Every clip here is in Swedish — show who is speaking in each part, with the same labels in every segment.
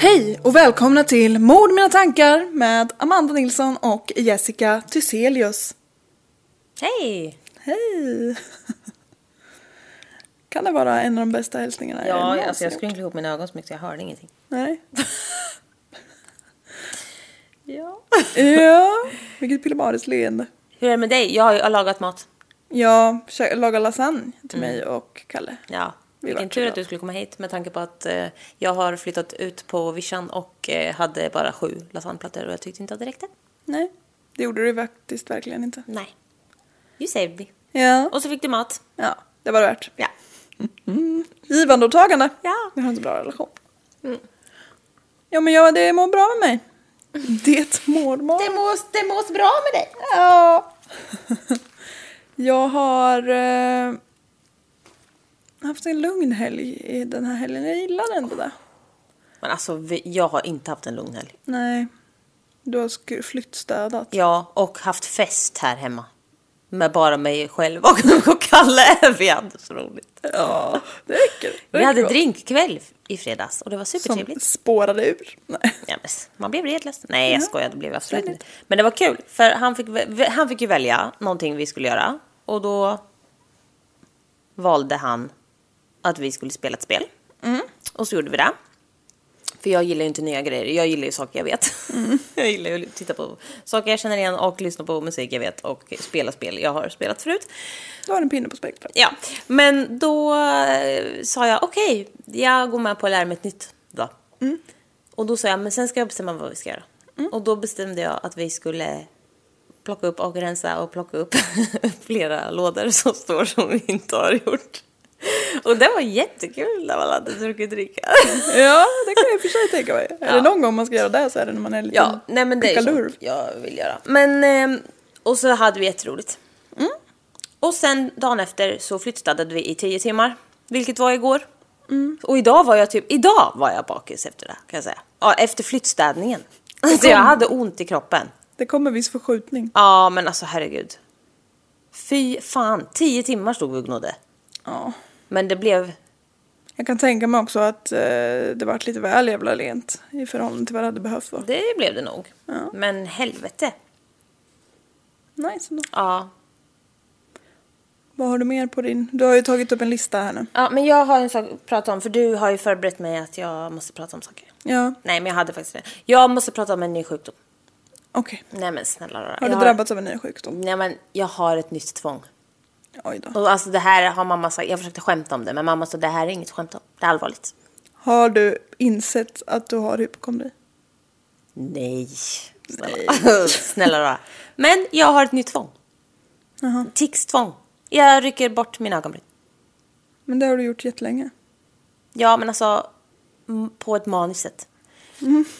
Speaker 1: Hej och välkomna till Mord mina tankar med Amanda Nilsson och Jessica Thyselius.
Speaker 2: Hej!
Speaker 1: Hej! Kan det vara en av de bästa hälsningarna jag
Speaker 2: Ja,
Speaker 1: någonsin
Speaker 2: alltså jag
Speaker 1: gjort?
Speaker 2: skrynklade ihop mina ögon så mycket så jag hörde ingenting.
Speaker 1: Nej.
Speaker 2: Ja.
Speaker 1: Ja, vilket pillemariskt leende.
Speaker 2: Hur är det med dig? Jag har ju jag har lagat mat.
Speaker 1: Jag försöker laga lasagne till
Speaker 2: Mm.
Speaker 1: mig och Kalle.
Speaker 2: Ja.
Speaker 1: Vi
Speaker 2: Vilken
Speaker 1: vart så
Speaker 2: tur
Speaker 1: bra.
Speaker 2: att du skulle komma hit med tanke på att eh, jag har flyttat ut på vischan och eh, hade bara sju lasagneplattor och jag tyckte inte att det räckte.
Speaker 1: Nej, det gjorde du faktiskt verkligen inte.
Speaker 2: Nej. You saved me.
Speaker 1: Ja,
Speaker 2: Och så fick du mat.
Speaker 1: ja det var det värt.
Speaker 2: Ja.
Speaker 1: Givande och tagande.
Speaker 2: Ja. Mm.
Speaker 1: Vi har en så bra relation. Ja, men jag, det mår bra med mig. Det mår bra.
Speaker 2: mås, det mås bra med dig.
Speaker 1: Ja. Jag har eh, haft en lugn helg i den här helgen. Jag gillar ändå det.
Speaker 2: Men alltså, vi, jag har inte haft en lugn helg.
Speaker 1: Nej. Du har sku- flyttstädat.
Speaker 2: Ja, och haft fest här hemma. Med bara mig själv och, och Kalle. Vi hade så roligt.
Speaker 1: Ja, det räcker. Det
Speaker 2: Vi hade
Speaker 1: räcker
Speaker 2: drinkkväll i fredags och det var
Speaker 1: gott.
Speaker 2: supertrevligt.
Speaker 1: Som spårade ur. Nej.
Speaker 2: Ja, men man blev redlös. Nej, jag skojar, det blev jag absolut inte. Men det var kul, för han fick, vä- han fick ju välja någonting vi skulle göra. Och då valde han att vi skulle spela ett spel. Och så gjorde vi det. För jag gillar ju inte nya grejer, jag gillar ju saker jag vet. jag gillar ju att titta på saker jag känner igen och lyssna på musik jag vet och spela spel jag har spelat förut.
Speaker 1: Du har en pinne på spektrat.
Speaker 2: Ja, men då eh, sa jag okej, jag går med på att lära mig ett nytt då.
Speaker 1: Mm.
Speaker 2: Och då sa jag, men sen ska jag bestämma vad vi ska göra. Och då bestämde jag att vi skulle plocka upp och rensa och plocka upp flera lådor som står som vi inte har gjort. Och det var jättekul när man hade druckit dricka.
Speaker 1: Ja, det kan jag i och för sig tänka mig. Är det någon gång man ska göra det så är det när man är lite
Speaker 2: Ja, nej men det är
Speaker 1: kuckalurv.
Speaker 2: sånt jag vill göra. Men, ehm, och så hade vi jätteroligt. Och sen dagen efter så flyttstädade vi i tio timmar, vilket var igår. Och idag var jag typ, idag var jag bakis efter det kan jag säga. Ja, efter flyttstädningen. Alltså jag hade ont i kroppen.
Speaker 1: Det kommer viss förskjutning.
Speaker 2: Ja, men alltså herregud. Fy fan, tio timmar stod vi och gnodde.
Speaker 1: Ja.
Speaker 2: Men det blev,
Speaker 1: Jag kan tänka mig också att eh, det vart lite väl jävla rent i förhållande till vad det hade behövt vara.
Speaker 2: det blev det nog.
Speaker 1: Ja.
Speaker 2: Men helvete.
Speaker 1: Nice ändå.
Speaker 2: Ja.
Speaker 1: Vad har du mer på din? Du har ju tagit upp en lista här nu.
Speaker 2: ja, men jag har en sak att prata om, för du har ju förberett mig att jag måste prata om saker.
Speaker 1: Ja,
Speaker 2: Nej, men jag hade faktiskt det. Jag måste prata om en ny sjukdom.
Speaker 1: okej.
Speaker 2: Nej, men snälla rara.
Speaker 1: Har du
Speaker 2: jag
Speaker 1: drabbats av en ny sjukdom?
Speaker 2: Nej, men jag har ett nytt tvång.
Speaker 1: Oj då.
Speaker 2: Och alltså det här har mamma sagt, jag försökte skämta om det, men mamma sa det här är inget skämt om. Det är allvarligt.
Speaker 1: Har du insett att du har hypokondri?
Speaker 2: Nej. Snälla, snälla rara. Men jag har ett nytt tvång. Tics-tvång. Jag rycker bort mina ögonbryn.
Speaker 1: Men det har du gjort jättelänge.
Speaker 2: Ja, men alltså m- på ett manuset.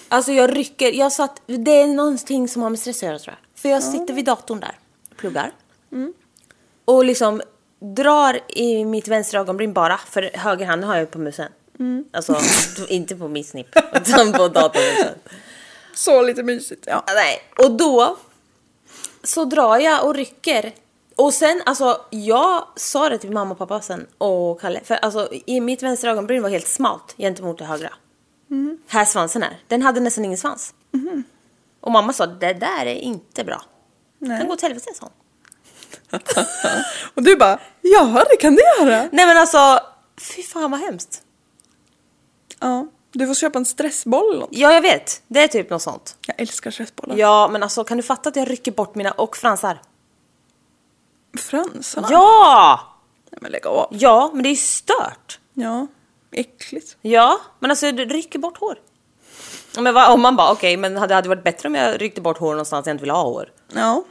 Speaker 2: Alltså jag rycker, jag satt, det är någonting som har med stress att göra tror jag. För jag sitter vid datorn där, pluggar. Och liksom drar i mitt vänstra ögonbryn bara, för höger hand har jag ju på musen. Alltså inte på min snipp, utan på datorn. liksom.
Speaker 1: Så lite mysigt. Ja.
Speaker 2: Nej. Och då så drar jag och rycker. Och sen, alltså jag sa det till mamma och pappa sen och Kalle. För alltså i mitt vänstra ögonbryn var helt smalt gentemot det högra. Här svansen är. Den hade nästan ingen svans. Och mamma sa det där är inte bra.
Speaker 1: Nej.
Speaker 2: Den går åt helvete sa hon.
Speaker 1: Och du bara, ja det kan det göra.
Speaker 2: Nej men alltså, fy fan vad hemskt.
Speaker 1: Ja. Du får köpa en stressboll eller något.
Speaker 2: Ja jag vet, det är typ något sånt.
Speaker 1: Jag älskar stressbollar.
Speaker 2: Ja men alltså kan du fatta att jag rycker bort mina och fransar?
Speaker 1: Fransarna.
Speaker 2: Ja!
Speaker 1: Nej, men lägg av.
Speaker 2: Ja men det är ju stört.
Speaker 1: Ja. Äckligt.
Speaker 2: Ja, men alltså du rycker bort hår. Ja, Men vad, om man bara okej, men hade det hade varit bättre om jag ryckte bort hår någonstans jag inte vill ha hår.
Speaker 1: Ja.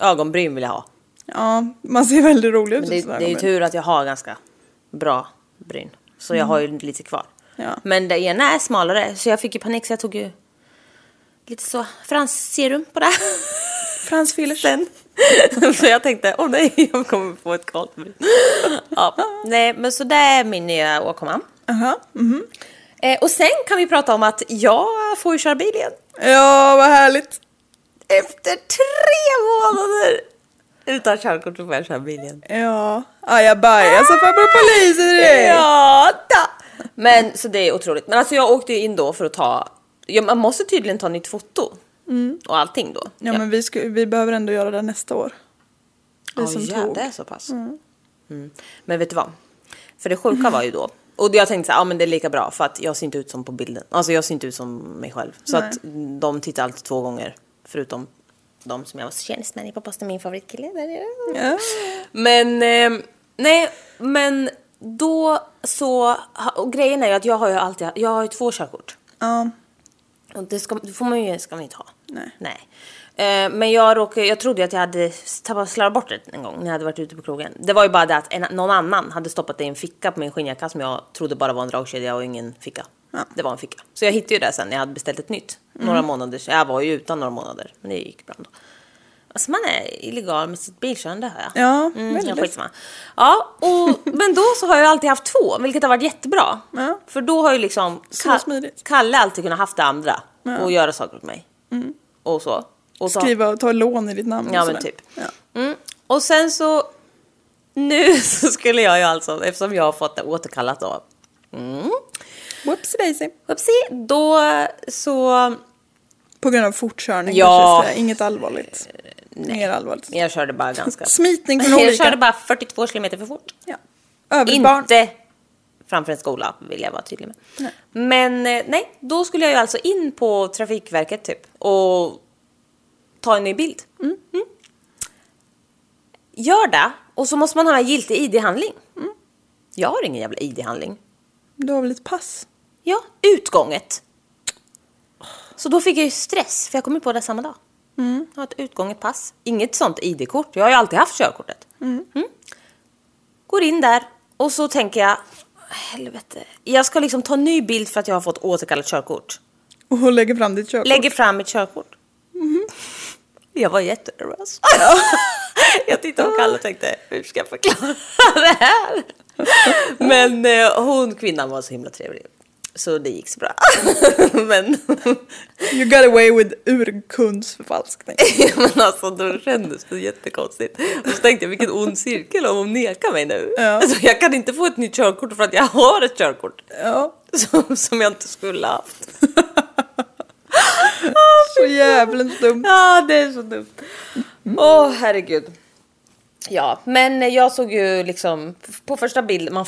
Speaker 2: Ögonbryn vill jag ha.
Speaker 1: Ja, man ser väldigt rolig ut.
Speaker 2: Men
Speaker 1: i
Speaker 2: det,
Speaker 1: sådana
Speaker 2: det är ju
Speaker 1: ögonbryn.
Speaker 2: tur att jag har ganska bra bryn. Så jag har ju lite kvar.
Speaker 1: Mm. Ja.
Speaker 2: Men det ena är smalare så jag fick ju panik så jag tog ju lite så fransserum på det.
Speaker 1: Frans Fillers.
Speaker 2: Sen. så jag tänkte, åh nej, jag kommer få ett kallt bryn. ja. Nej, men så det är min nya åkomma.
Speaker 1: Aha. mhm.
Speaker 2: Eh, och sen kan vi prata om att jag får ju köra bil igen.
Speaker 1: Ja, vad härligt.
Speaker 2: Efter tre månader utan körkort så får jag köra bilen.
Speaker 1: Ja. Ah, jag bajsar farbror polisen direkt.
Speaker 2: Ja, da. Men så det är otroligt. Men alltså jag åkte ju in då för att ta, ja, man måste tydligen ta nytt foto. Och allting då.
Speaker 1: Mm. Ja, men vi, ska, vi behöver ändå göra det nästa år. Vi
Speaker 2: Ja,
Speaker 1: som
Speaker 2: ja,
Speaker 1: tog.
Speaker 2: det är så pass. Mm. Men vet du vad? För det sjuka var ju då, och jag tänkte så här, ja men det är lika bra för att jag ser inte ut som på bilden. Alltså jag ser inte ut som mig själv. Så
Speaker 1: Nej.
Speaker 2: att de tittar alltid två gånger. Förutom de som jag var tjänst med, ni får posta min favoritkille där nere.
Speaker 1: Ja.
Speaker 2: Men, eh, nej, men då så, ha- och grejen är ju att jag har ju alltid, jag har ju två körkort.
Speaker 1: ja.
Speaker 2: Och det, ska, det får man ju, ska man ju inte ha.
Speaker 1: Nej.
Speaker 2: Eh, men jag råkade, jag trodde ju att jag hade tappat, slarvat bort det en gång när jag hade varit ute på krogen. Det var ju bara det att en, någon annan hade stoppat det i en ficka på min skinnjacka som jag trodde bara var en dragkedja och ingen ficka. Det var en ficka. Så jag hittade ju det sen när jag hade beställt ett nytt.
Speaker 1: Mm.
Speaker 2: Några månader, sen- jag var ju utan några månader, men det gick bra ändå. Alltså man är illegal med sitt bilkörande hör jag.
Speaker 1: Ja,
Speaker 2: mm,
Speaker 1: väldigt.
Speaker 2: ja, skitsamma. Ja, och, men då så har jag alltid haft två, vilket har varit jättebra.
Speaker 1: Ja.
Speaker 2: För då har ju liksom
Speaker 1: Så
Speaker 2: Ka-
Speaker 1: smidigt.
Speaker 2: Kalle alltid kunnat haft det andra
Speaker 1: Ja. Mm.
Speaker 2: och göra saker åt mig. Och så. Och så.
Speaker 1: Skriva och ta lån i ditt namn. och
Speaker 2: Ja, men
Speaker 1: sådär.
Speaker 2: typ.
Speaker 1: Ja.
Speaker 2: Mm. Och sen så... Nu så skulle jag ju alltså, eftersom jag har fått det återkallat då. Mm.
Speaker 1: Whoopsie daisy.
Speaker 2: Oopsie, då så...
Speaker 1: På grund av fortkörning
Speaker 2: Ja. Eh,
Speaker 1: kanske jag säger. Inget allvarligt. Mer allvarligt.
Speaker 2: Jag körde bara ganska...
Speaker 1: Smitning från
Speaker 2: Jag
Speaker 1: olika.
Speaker 2: körde bara 42 kilometer för fort.
Speaker 1: Ja. Övrigt barn.
Speaker 2: Inte framför en skola vill jag vara tydlig med. Men eh, nej, då skulle jag ju alltså in på Trafikverket typ och ta en ny bild. Mm. Gör det och så måste man ha en giltig ID-handling. Jag har ingen jävla ID-handling.
Speaker 1: Du har väl ett pass?
Speaker 2: Ja, utgånget. Så då fick jag ju stress för jag kom ju på det samma dag. Jag har ett utgånget pass. Inget sånt ID-kort. Jag har ju alltid haft körkortet. Mm. Går in där och så tänker jag, helvete. Jag ska liksom ta ny bild för att jag har fått återkallat körkort.
Speaker 1: Och lägger fram ditt körkort?
Speaker 2: Lägger fram mitt körkort. Mm-hmm. Jag var jättenervös. jag tittade på Kalle och tänkte, hur ska jag förklara det här? Men eh, hon, kvinnan var så himla trevlig. Så det gick så bra. Men,
Speaker 1: You got away with urkundsförfalskning.
Speaker 2: men alltså då kändes det jättekonstigt. Och så tänkte jag vilken ond cirkel om hon nekar mig nu.
Speaker 1: Ja.
Speaker 2: Så jag kan inte få ett nytt körkort för att jag har ett körkort.
Speaker 1: Ja.
Speaker 2: Som, som jag inte skulle haft. Ah,
Speaker 1: Så jävla dumt. Mm.
Speaker 2: Ja, det är så dumt. Åh, herregud. Ja, men jag såg ju liksom på första bild, man,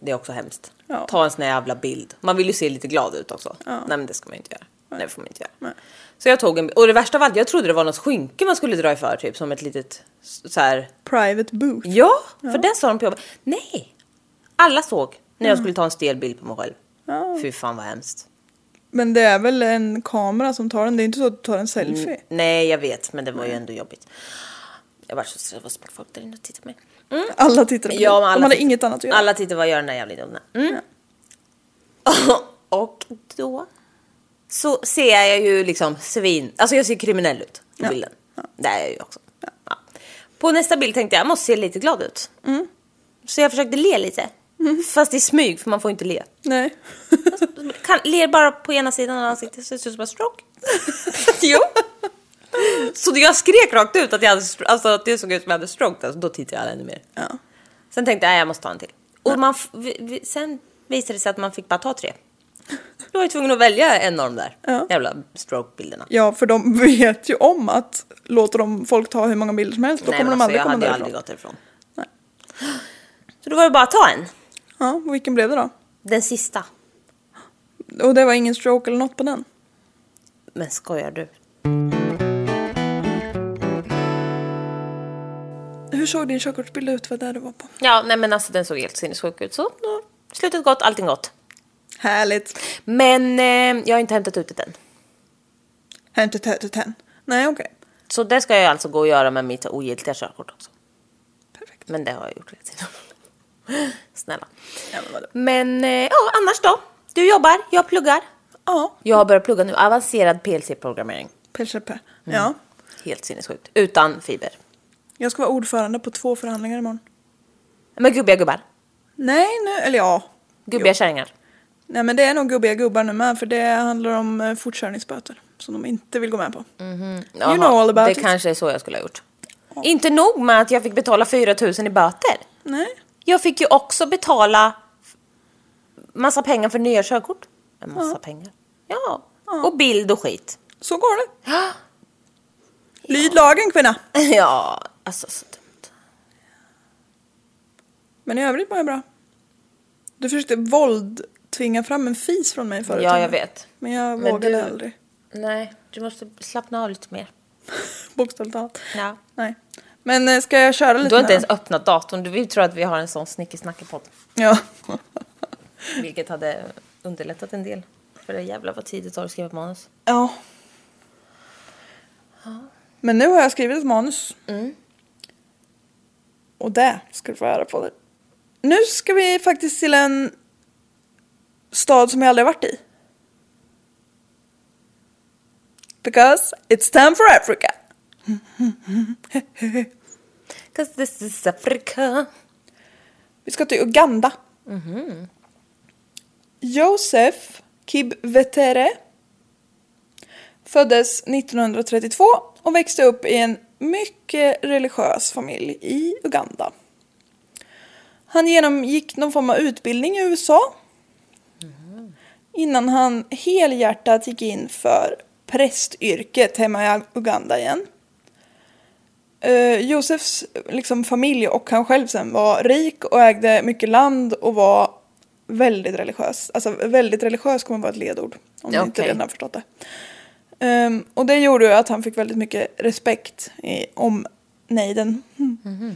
Speaker 2: det är också hemskt.
Speaker 1: Ja.
Speaker 2: Ta en sån här jävla bild. Man vill ju se lite glad ut också. Nej men det ska man ju inte göra. Nej, det får man inte göra.
Speaker 1: Nej.
Speaker 2: Så jag tog en och det värsta av allt, jag trodde det var något skynke man skulle dra i för typ som ett litet så här.
Speaker 1: Private booth.
Speaker 2: Ja, för det sa de på jobbet. Nej! Alla såg när jag skulle ta en stel bild på mig själv.
Speaker 1: Ja.
Speaker 2: Fy fan vad hemskt.
Speaker 1: Men det är väl en kamera som tar den? Det är inte så att du tar
Speaker 2: Mm.
Speaker 1: en selfie?
Speaker 2: Nej, jag vet, men det var ju ändå jobbigt. Jag var så stressad, det var så mycket folk där inne och tittade på mig.
Speaker 1: Alla tittar på dig.
Speaker 2: Ja, men alla
Speaker 1: De hade
Speaker 2: titt-
Speaker 1: inget annat att göra.
Speaker 2: Alla tittar vad gör den där jävla idioten? Mm. och då så ser jag ju liksom svin... Alltså jag ser kriminell ut på
Speaker 1: Ja.
Speaker 2: bilden. Det är jag ju också. Ja. På nästa bild tänkte jag, jag måste se lite glad ut.
Speaker 1: Mm.
Speaker 2: Så jag försökte le lite. Fast i smyg, för man får inte le.
Speaker 1: Nej.
Speaker 2: Kan, ler bara på ena sidan av ansiktet så det ser ut som en stroke. jo. Så jag skrek rakt ut att, jag hade, stro- alltså, att det såg ut som jag hade stroke. Alltså, då tittade jag ännu mer.
Speaker 1: Ja.
Speaker 2: Sen tänkte jag, "Nej, jag måste ta en till. Och man, f- vi, vi, sen visade det sig att man fick bara ta tre. Då var jag tvungen att välja en av de där
Speaker 1: Ja.
Speaker 2: jävla stroke-bilderna.
Speaker 1: ja, för de vet ju om att låter de folk ta hur många bilder som helst då
Speaker 2: Nej,
Speaker 1: kommer
Speaker 2: men alltså,
Speaker 1: de aldrig
Speaker 2: jag
Speaker 1: komma
Speaker 2: hade ju
Speaker 1: därifrån.
Speaker 2: aldrig gått därifrån.
Speaker 1: Nej.
Speaker 2: Så då var det bara att ta en.
Speaker 1: Ja, och vilken blev det då?
Speaker 2: Den sista.
Speaker 1: Och det var ingen stroke eller något på den?
Speaker 2: Men skojar du?
Speaker 1: Hur såg din körkortsbild ut? Vad där du var på?
Speaker 2: Ja, nej men alltså den såg helt sinnessjuk ut. Så då, slutet gott, allting gott.
Speaker 1: Härligt.
Speaker 2: Men eh, jag har inte hämtat ut det än.
Speaker 1: Hämta tätt och hen. Nej, okej.
Speaker 2: Så det ska jag alltså gå och göra med mitt ogiltiga körkort också.
Speaker 1: Perfekt.
Speaker 2: Men det har jag gjort hela tiden. Snälla.
Speaker 1: Ja, men vadå?
Speaker 2: Men eh, ja, annars då? Du jobbar, jag pluggar.
Speaker 1: Ja,
Speaker 2: Jag har börjat plugga nu, avancerad PLC-programmering.
Speaker 1: PCP.
Speaker 2: Mm.
Speaker 1: Ja.
Speaker 2: Helt sinnessjukt. Utan fiber.
Speaker 1: Jag ska vara ordförande på två förhandlingar imorgon.
Speaker 2: Men gubbiga gubbar.
Speaker 1: Nej, nu, eller ja.
Speaker 2: Gubbiga kärringar.
Speaker 1: Nej, men det är nog gubbiga gubbar nu med för det handlar om eh, fortkörningsböter som de inte vill gå med på.
Speaker 2: Mm. Jaha,
Speaker 1: know all about
Speaker 2: det
Speaker 1: it.
Speaker 2: kanske är så jag skulle ha gjort. Inte nog med att jag fick betala 4 000 i böter.
Speaker 1: Nej.
Speaker 2: Jag fick ju också betala f- massa pengar för nya körkort. En massa pengar. Ja. Och bild och skit.
Speaker 1: Så går det. Lyd lagen kvinna.
Speaker 2: ja, alltså så dumt.
Speaker 1: Men i övrigt mår jag bra. Du försökte våld tvinga fram en fis från mig förut.
Speaker 2: Ja, jag
Speaker 1: Anna.
Speaker 2: vet.
Speaker 1: Men jag
Speaker 2: Men
Speaker 1: vågade
Speaker 2: du-
Speaker 1: aldrig.
Speaker 2: Nej, du måste slappna av lite mer.
Speaker 1: Bokstavligt talat.
Speaker 2: Ja.
Speaker 1: Nej. Men eh, ska jag köra lite
Speaker 2: Du har
Speaker 1: nu
Speaker 2: inte ens
Speaker 1: då?
Speaker 2: öppnat datorn. Du vill tro att vi har en sån snickesnackepodd.
Speaker 1: Ja.
Speaker 2: Vilket hade underlättat en del. För det jävla vad tid det tar att skriva ett manus.
Speaker 1: ja. Men nu har jag skrivit ett manus. Och det ska du få höra på dig. Nu ska vi faktiskt till en stad som jag aldrig har varit i. Because it's time for Africa.
Speaker 2: Cause this is Africa.
Speaker 1: Vi ska till Uganda. Josef Kibwetere föddes 1932 och växte upp i en mycket religiös familj i Uganda. Han genomgick någon form av utbildning i USA innan han helhjärtat gick in för prästyrket hemma i Uganda igen. Eh, Josefs liksom, familj och han själv sen var rik och ägde mycket land och var väldigt religiös. Alltså väldigt religiös kommer vara ett ledord om ni inte
Speaker 2: Okej.
Speaker 1: redan har förstått det. Ehm, och det gjorde ju att han fick väldigt mycket respekt i omnejden. Mm.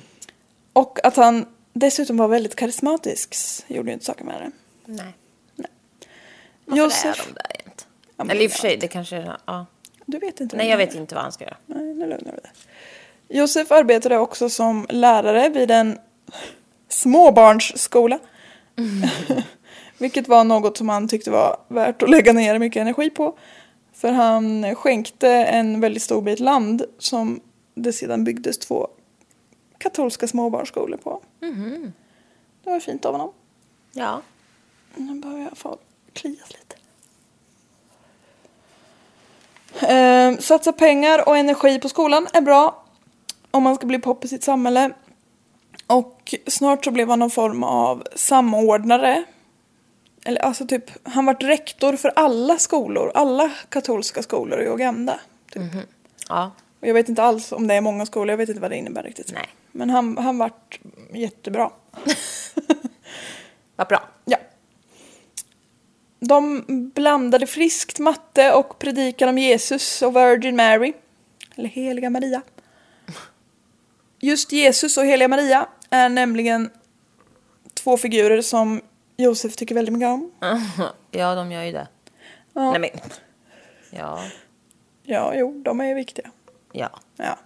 Speaker 1: Och att han dessutom var väldigt karismatisk gjorde ju inte saken värre.
Speaker 2: Nej.
Speaker 1: Nej.
Speaker 2: Varför är
Speaker 1: Josef,
Speaker 2: de där egentligen?
Speaker 1: Ja, men
Speaker 2: Eller i och
Speaker 1: ja.
Speaker 2: för sig, det kanske är... Ja.
Speaker 1: du vet inte.
Speaker 2: Nej,
Speaker 1: vem
Speaker 2: jag
Speaker 1: det
Speaker 2: vet
Speaker 1: är.
Speaker 2: inte vad han ska göra.
Speaker 1: Nej, nu lugnar vi dig. Josef arbetade också som lärare vid en småbarnsskola.
Speaker 2: Mm.
Speaker 1: Vilket var något som han tyckte var värt att lägga ner mycket energi på. För han skänkte en väldigt stor bit land som det sedan byggdes två katolska småbarnsskolor på.
Speaker 2: Mhm.
Speaker 1: Det var fint av honom.
Speaker 2: Ja.
Speaker 1: Nu behöver jag få klias lite. Ehm, satsa pengar och energi på skolan är bra om man ska bli poppis i sitt samhälle. Och snart så blev han någon form av samordnare. Eller alltså typ, han vart rektor för alla skolor, alla katolska skolor i Uganda. Typ.
Speaker 2: Ja.
Speaker 1: Och jag vet inte alls om det är många skolor, jag vet inte vad det innebär riktigt.
Speaker 2: Nej.
Speaker 1: Men han, han vart jättebra.
Speaker 2: Vad bra.
Speaker 1: Ja. De blandade friskt matte och predikan om Jesus och Virgin Mary. Eller Heliga Maria. Just Jesus och Heliga Maria är nämligen två figurer som Josef tycker väldigt mycket om.
Speaker 2: Ja, de gör ju det.
Speaker 1: Ja.
Speaker 2: Nej, men... Ja.
Speaker 1: Ja, jo, de är viktiga.
Speaker 2: Ja.
Speaker 1: Ja.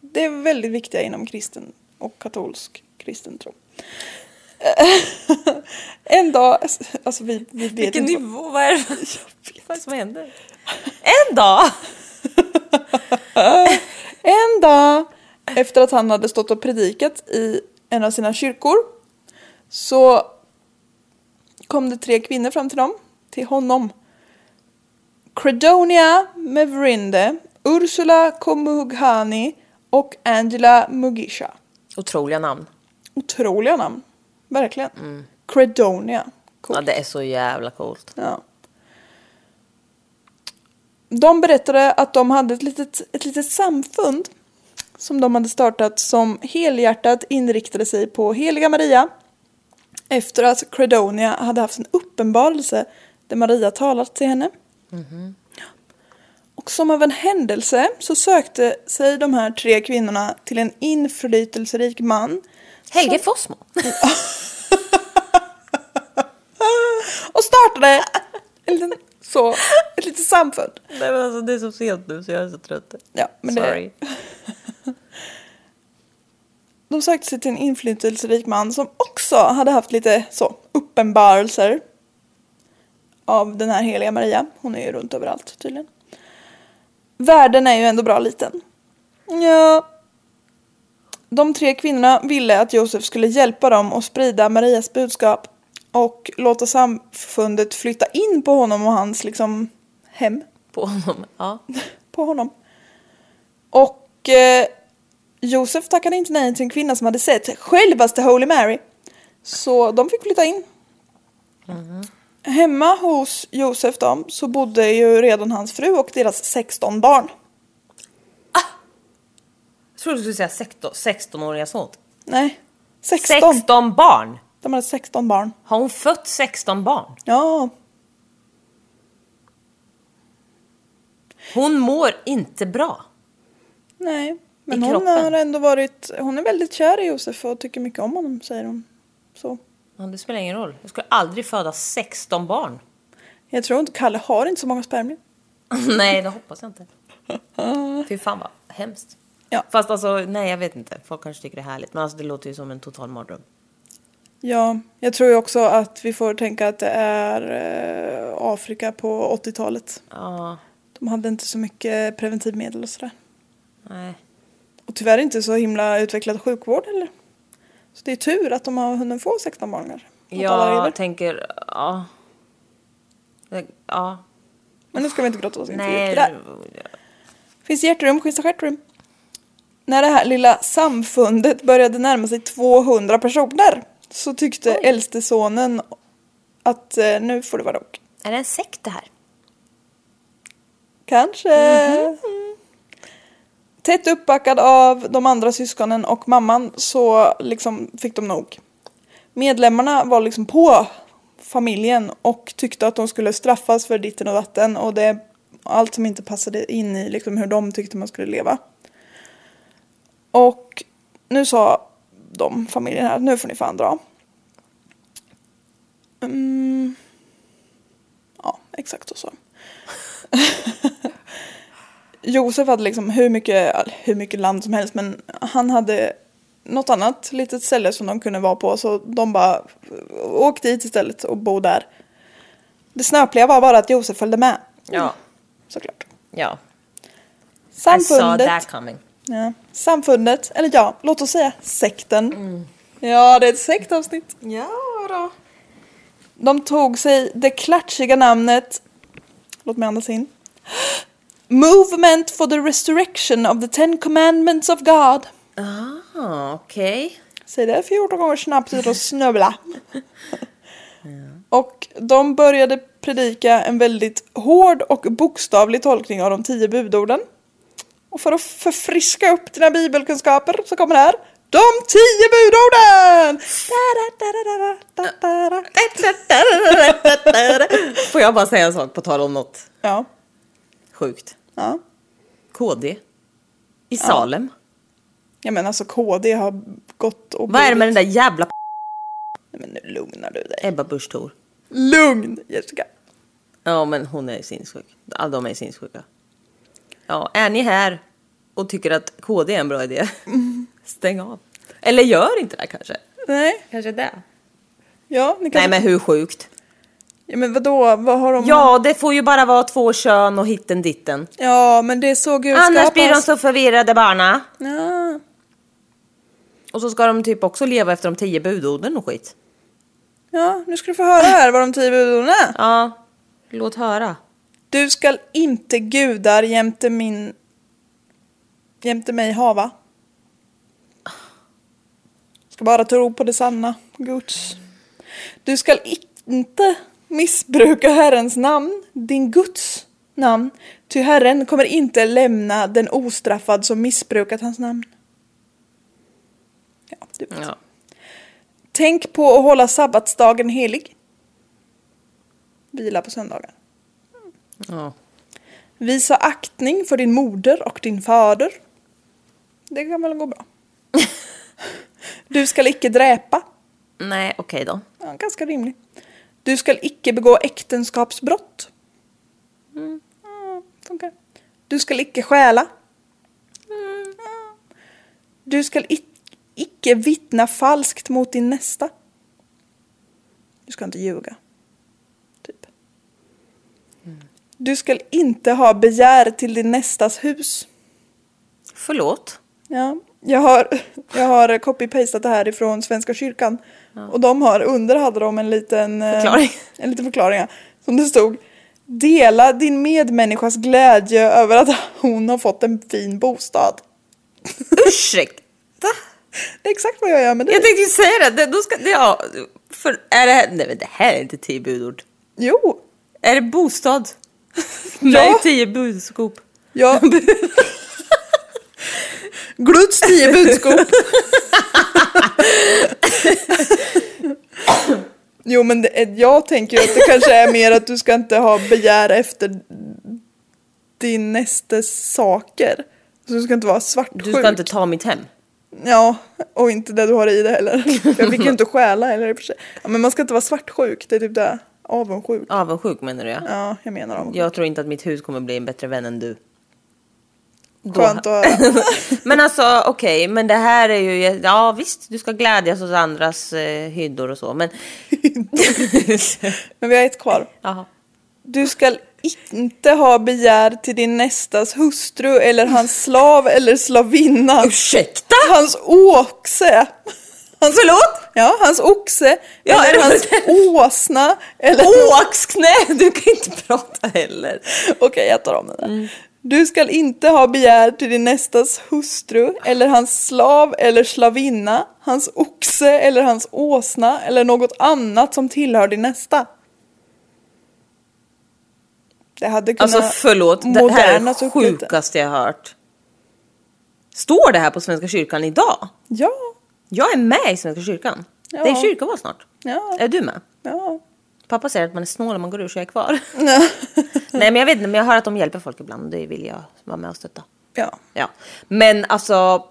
Speaker 1: Det är väldigt viktiga inom kristen och katolsk kristen tro. En dag, alltså vi, vi vet
Speaker 2: Vilken
Speaker 1: inte vad-
Speaker 2: nivå, vad är det vad är det som händer? En dag!
Speaker 1: En dag efter att han hade stått och predikat i en av sina kyrkor så kom det tre kvinnor fram till dem, till honom. Credonia Mevrinde, Ursula Komughani och Angela Mugisha.
Speaker 2: Otroliga namn.
Speaker 1: Otroliga namn, verkligen. Credonia. Coolt.
Speaker 2: Ja, det är så jävla coolt.
Speaker 1: Ja. De berättade att de hade ett litet, ett litet samfund som de hade startat som helhjärtat inriktade sig på Heliga Maria efter att Credonia hade haft en uppenbarelse där Maria talat till henne. Och som av en händelse så sökte sig de här tre kvinnorna till en inflytelserik man
Speaker 2: Helge Fossmo.
Speaker 1: och startade en liten, så, ett litet samfund.
Speaker 2: Nej, men alltså, det är så sent nu så jag är så trött.
Speaker 1: Ja, men det-
Speaker 2: Sorry.
Speaker 1: De sökte sig till en inflytelserik man som också hade haft lite så uppenbarelser av den här heliga Maria. Hon är ju runt överallt tydligen. Världen är ju ändå bra liten. Ja. De tre kvinnorna ville att Josef skulle hjälpa dem att sprida Marias budskap och låta samfundet flytta in på honom och hans liksom hem
Speaker 2: På honom. Ja.
Speaker 1: på honom. Och eh, Josef tackade inte nej till en kvinna som hade sett självaste Holy Mary. Så de fick flytta in.
Speaker 2: Mm.
Speaker 1: Hemma hos Josef då, så bodde ju redan hans fru och deras 16 barn.
Speaker 2: Jag trodde du skulle säga 16, 16-åriga son.
Speaker 1: Nej, 16.
Speaker 2: 16. barn!
Speaker 1: De hade 16 barn.
Speaker 2: Har hon fött 16 barn?
Speaker 1: Ja,
Speaker 2: Hon mår inte bra.
Speaker 1: nej. Men
Speaker 2: I
Speaker 1: hon
Speaker 2: kroppen.
Speaker 1: har ändå varit, hon är väldigt kär i Josef och tycker mycket om honom säger hon. Så.
Speaker 2: Ja, det spelar ingen roll. Jag skulle aldrig föda 16 barn.
Speaker 1: Jag tror inte, Kalle har inte så många spermier.
Speaker 2: nej, det hoppas jag inte. Fy fan vad hemskt.
Speaker 1: Ja.
Speaker 2: Fast alltså, nej jag vet inte. Folk kanske tycker det är härligt. Men alltså det låter ju som en total mardröm.
Speaker 1: Ja, jag tror ju också att vi får tänka att det är eh, Afrika på 80-talet.
Speaker 2: Ja,
Speaker 1: De hade inte så mycket preventivmedel och sådär.
Speaker 2: nej.
Speaker 1: Och tyvärr inte så himla utvecklad sjukvård heller. Så det är tur att de har hunnit få 16 barn kanske. åt alla
Speaker 2: Jag
Speaker 1: regler.
Speaker 2: tänker, ja. Det- Ja,
Speaker 1: Men nu ska vi inte gråta oss in för djupt i
Speaker 2: nej.
Speaker 1: det här. Finns det hjärterum finns det stjärterum. När det här lilla samfundet började närma sig 200 personer så tyckte äldste sonen att eh, nu får det vara nog.
Speaker 2: Är det en sekt det här?
Speaker 1: Kanske. Tätt uppbackad av de andra syskonen och mamman så liksom fick de nog. Medlemmarna var liksom på familjen och tyckte att de skulle straffas för ditten och datten och det allt som inte passade in i liksom hur de tyckte man skulle leva. Och nu sa de familjen här, nu får ni fan dra. Mm. Ja, exakt så sa de. Josef hade liksom hur mycket, hur mycket land som helst men han hade något annat litet ställe som de kunde vara på så de bara åk dit istället och bo där. Det snöpliga var bara att Josef följde med.
Speaker 2: Ja.
Speaker 1: Såklart.
Speaker 2: Ja. I saw
Speaker 1: Samfundet.
Speaker 2: that coming.
Speaker 1: Ja. Samfundet, eller ja, låt oss säga sekten. Ja, det är ett sektavsnitt.
Speaker 2: Ja då.
Speaker 1: De tog sig det klatschiga namnet, låt mig andas in. Movement for the resurrection of the ten commandments of God.
Speaker 2: Ah, okej.
Speaker 1: Säg det 14 gånger snabbt utan att snubbla. Och de började predika en väldigt hård och bokstavlig tolkning av de tio budorden. Och för att förfriska upp dina bibelkunskaper så kommer det här. De tio budorden! Da-da-da-da-da-da-da-da.
Speaker 2: Får jag bara säga en sak på tal om något
Speaker 1: Ja,
Speaker 2: sjukt?
Speaker 1: ja.
Speaker 2: KD. I Salem.
Speaker 1: Ja men alltså KD har gått och...
Speaker 2: Vad är det med den där jävla p-
Speaker 1: Nej, men nu lugnar du dig.
Speaker 2: Ebba Busch Thor?
Speaker 1: Lugn Jessica.
Speaker 2: Ja men hon är sinnessjuk. Ja, de är sinnessjuka. Ja, är ni här och tycker att KD är en bra idé? Stäng av. Eller gör inte det här kanske.
Speaker 1: Nej.
Speaker 2: Kanske det.
Speaker 1: Ja, ni kan...
Speaker 2: Nej men hur sjukt?
Speaker 1: ja, men vadå, vad har de?
Speaker 2: Ja, det får ju bara vara två kön och hitten ditten.
Speaker 1: ja men det är så gud
Speaker 2: Annars
Speaker 1: skapas.
Speaker 2: blir de så förvirrade barna.
Speaker 1: Ja.
Speaker 2: Och så ska de typ också leva efter de tio budorden och skit.
Speaker 1: ja, nu ska du få höra här vad de tio budorden är.
Speaker 2: Ja, låt höra.
Speaker 1: Du skall inte gudar jämte min... jämte mig hava. Ska bara tro på det sanna, Guds. Du skall inte missbruka Herrens namn, din Guds namn. Ty Herren kommer inte lämna den ostraffad som missbrukat hans namn. Ja, du vet.
Speaker 2: Ja.
Speaker 1: Tänk på att hålla sabbatsdagen helig. Vila på söndagar.
Speaker 2: ja.
Speaker 1: Visa aktning för din moder och din fader. Det kan väl gå bra. Du skall icke dräpa.
Speaker 2: Nej, okej då.
Speaker 1: Ja, ganska rimlig. Du skall icke begå äktenskapsbrott. Mm, funkar. Du skall icke stjäla. Ja. Du skall ic- icke vittna falskt mot din nästa. Du ska inte ljuga. Typ. Du skall inte ha begär till din nästas hus.
Speaker 2: Förlåt.
Speaker 1: Ja, jag har, jag har copy-pastat det här ifrån Svenska kyrkan. Och de har, under hade de en liten eh,
Speaker 2: Förklaring.
Speaker 1: En liten förklaring ja, som det stod. Dela din medmänniskas glädje över att hon har fått en fin bostad.
Speaker 2: Ursäkta?
Speaker 1: Det är exakt vad jag gör med dig.
Speaker 2: Jag tänkte ju säga det. det. Då ska, det- ja, för, är det här, nej men det här är inte tio budord.
Speaker 1: Jo,
Speaker 2: Är det bostad? Nej, tio budskop.
Speaker 1: jag... Gluts tio budskap. jo men det, är- jag tänker ju att det kanske är mer att du ska inte ha begär efter din nästes saker. Så du ska inte vara svartsjuk.
Speaker 2: Du ska inte ta mitt hem.
Speaker 1: Ja, och inte det du har i det heller. Jag fick ju inte stjäla heller i och för sig. Ja, men man ska inte vara svartsjuk, det är typ det. Avundsjuk.
Speaker 2: Avundsjuk menar du ja.
Speaker 1: Ja, jag menar avundsjuk.
Speaker 2: Jag tror inte att mitt hus kommer bli en bättre vän än du. Då-
Speaker 1: Skönt att höra.
Speaker 2: Men alltså okej, men det här är ju, ja visst du ska glädjas åt andras eh, hyddor och så men...
Speaker 1: Men vi har ett kvar.
Speaker 2: Jaha.
Speaker 1: Du ska inte ha begär till din nästas hustru eller hans slav eller slavinna.
Speaker 2: Ursäkta?
Speaker 1: Hans oxe. Hans, Förlåt? Ja, hans oxe.
Speaker 2: Ja, är
Speaker 1: eller
Speaker 2: det
Speaker 1: hans åsna. Eller...
Speaker 2: Åksknä! Du kan inte prata heller.
Speaker 1: Okej, jag tar om den där. Du skall inte ha begär till din nästas hustru eller hans slav eller slavinna, hans oxe eller hans åsna eller något annat som tillhör din nästa. Det hade kunnat...
Speaker 2: Alltså förlåt, det här är
Speaker 1: moderna
Speaker 2: det
Speaker 1: suckar lite.
Speaker 2: sjukaste jag hört. Står det här på Svenska kyrkan idag?
Speaker 1: Ja,
Speaker 2: Jag är med i Svenska kyrkan.
Speaker 1: Ja.
Speaker 2: Det är kyrkoval snart.
Speaker 1: ja,
Speaker 2: Är du med?
Speaker 1: ja.
Speaker 2: Pappa säger att man är snål om man går ur så jag är kvar. Nej men jag vet inte, men jag hör att de hjälper folk ibland och det vill jag vara med och stötta.
Speaker 1: ja.
Speaker 2: Ja. Men alltså,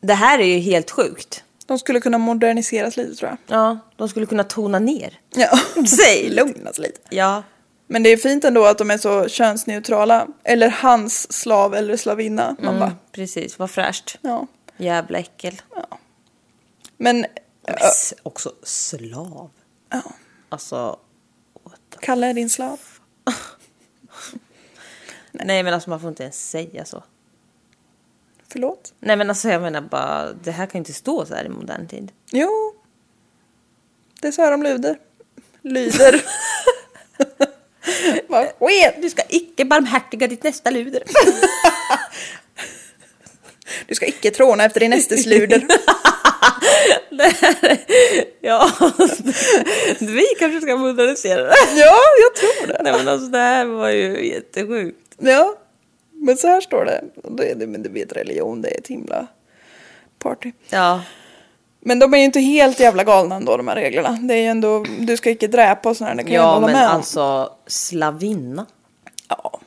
Speaker 2: det här är ju helt sjukt.
Speaker 1: De skulle kunna moderniseras lite tror jag.
Speaker 2: Ja, de skulle kunna tona ner.
Speaker 1: Ja.
Speaker 2: Säg lite.
Speaker 1: Lugnas lite.
Speaker 2: Ja.
Speaker 1: Men det är fint ändå att de är så könsneutrala. Eller hans slav eller slavinna. Man bara,
Speaker 2: Precis, vad fräscht.
Speaker 1: ja.
Speaker 2: Jävla äckel.
Speaker 1: Men
Speaker 2: Men s- också slav.
Speaker 1: Ja.
Speaker 2: Alltså, what the...
Speaker 1: Kalle är din slav.
Speaker 2: Nej men alltså man får inte ens säga så.
Speaker 1: Förlåt?
Speaker 2: Nej men alltså jag menar bara, det här kan ju inte stå så här i modern tid.
Speaker 1: Jo. Det är så här de lyder. Lyder. Vad sker?
Speaker 2: Eh, Du ska icke barmhärtiga ditt nästa luder.
Speaker 1: Du ska icke tråna efter din nästes luder.
Speaker 2: ja, alltså, vi kanske ska modernisera det.
Speaker 1: ja, jag tror det.
Speaker 2: Nej men alltså det här var ju jättesjukt.
Speaker 1: Ja. Men så här står det. Och då är det men du vet religion, det är ett himla party.
Speaker 2: Ja.
Speaker 1: Men de är ju inte helt jävla galna ändå de här reglerna. Det är ju ändå, du ska icke dräpa och sådär, det kan jag
Speaker 2: Ja
Speaker 1: hålla
Speaker 2: men
Speaker 1: med om.
Speaker 2: alltså slavinna.
Speaker 1: Ja.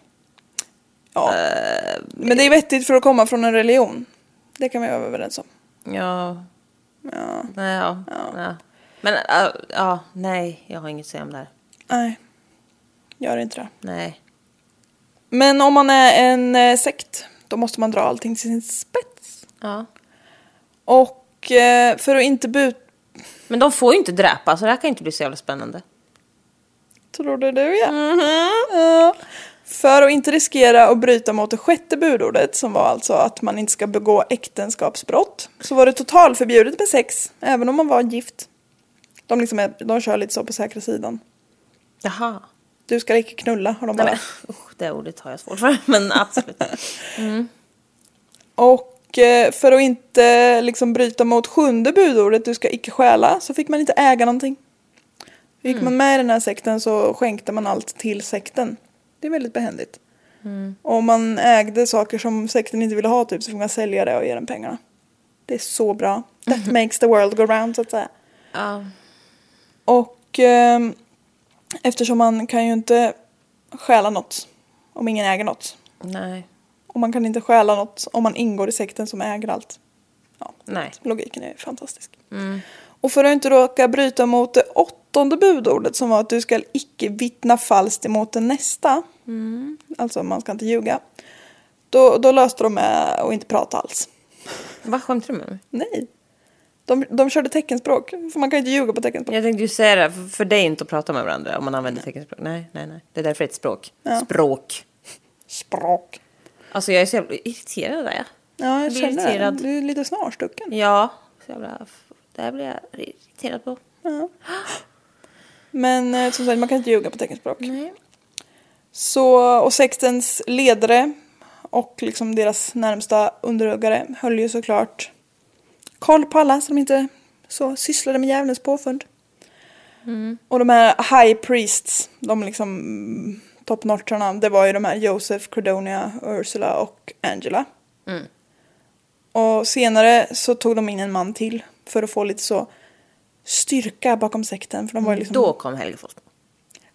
Speaker 1: ja.
Speaker 2: Eh,
Speaker 1: men det är vettigt för att komma från en religion. Det kan vi vara överens om.
Speaker 2: Ja.
Speaker 1: Ja.
Speaker 2: Nej, ja. ja. Men äh, ja, nej jag har inget att säga om det här.
Speaker 1: Nej. Gör inte det.
Speaker 2: Nej.
Speaker 1: Men om man är en eh, sekt, då måste man dra allting till sin spets.
Speaker 2: Ja.
Speaker 1: Och eh, för att inte bu-
Speaker 2: Men de får ju inte dräpa, så det här kan ju inte bli så jävla spännande.
Speaker 1: Trodde du ja.
Speaker 2: Mm-hmm.
Speaker 1: ja. För att inte riskera att bryta mot det sjätte budordet som var alltså att man inte ska begå äktenskapsbrott så var det totalförbjudet med sex även om man var gift. De, liksom är, de kör lite så på säkra sidan.
Speaker 2: Jaha.
Speaker 1: Du ska icke knulla har de
Speaker 2: Nej,
Speaker 1: bara.
Speaker 2: men, usch, det ordet har jag svårt för, men absolut.
Speaker 1: Och eh, för att inte liksom bryta mot sjunde budordet du ska icke stjäla så fick man inte äga någonting. Gick man med i den här sekten så skänkte man allt till sekten. Det är väldigt behändigt. Och om man ägde saker som sekten inte ville ha typ så fick man sälja det och ge den pengarna. Det är så bra. That makes the world go round så att säga.
Speaker 2: Ja.
Speaker 1: Och ehm, eftersom man kan ju inte stjäla något om ingen äger något.
Speaker 2: Nej.
Speaker 1: Och man kan inte stjäla något om man ingår i sekten som äger allt. Ja,
Speaker 2: Nej. Mm.
Speaker 1: Logiken är fantastisk. Och för att inte råka bryta mot det åttonde budordet som var att du ska icke vittna falskt emot den nästa.
Speaker 2: Mm.
Speaker 1: Alltså man ska inte ljuga. Då, då löste de med att inte prata alls.
Speaker 2: Vad skämtar du med mig?
Speaker 1: Nej. De, de körde teckenspråk. För man kan ju inte ljuga på teckenspråk.
Speaker 2: Jag tänkte ju säga det, för- för det är inte att prata med varandra om man använder teckenspråk. Nej, nej, nej. Det är därför det är ett språk. Språk.
Speaker 1: Språk.
Speaker 2: Alltså jag är så jävla irriterad där.
Speaker 1: Ja, jag
Speaker 2: blir
Speaker 1: känner
Speaker 2: irriterad.
Speaker 1: det. Du är lite snarstucken.
Speaker 2: Ja, så jävla... Det här blir jag irriterad på.
Speaker 1: Men eh, som sagt, man kan inte ljuga på teckenspråk. Så, och sektens ledare och liksom deras närmsta underhuggare höll ju såklart koll på alla så de inte så sysslade med djävulens påfund. Och de här high priests, de liksom mm, toppnotcharna, det var ju de här Joseph, Credonia, Ursula och Angela. Och senare så tog de in en man till för att få lite så styrka bakom sekten. För de
Speaker 2: Mm.
Speaker 1: var ju liksom...
Speaker 2: Då kom Helge Forsman.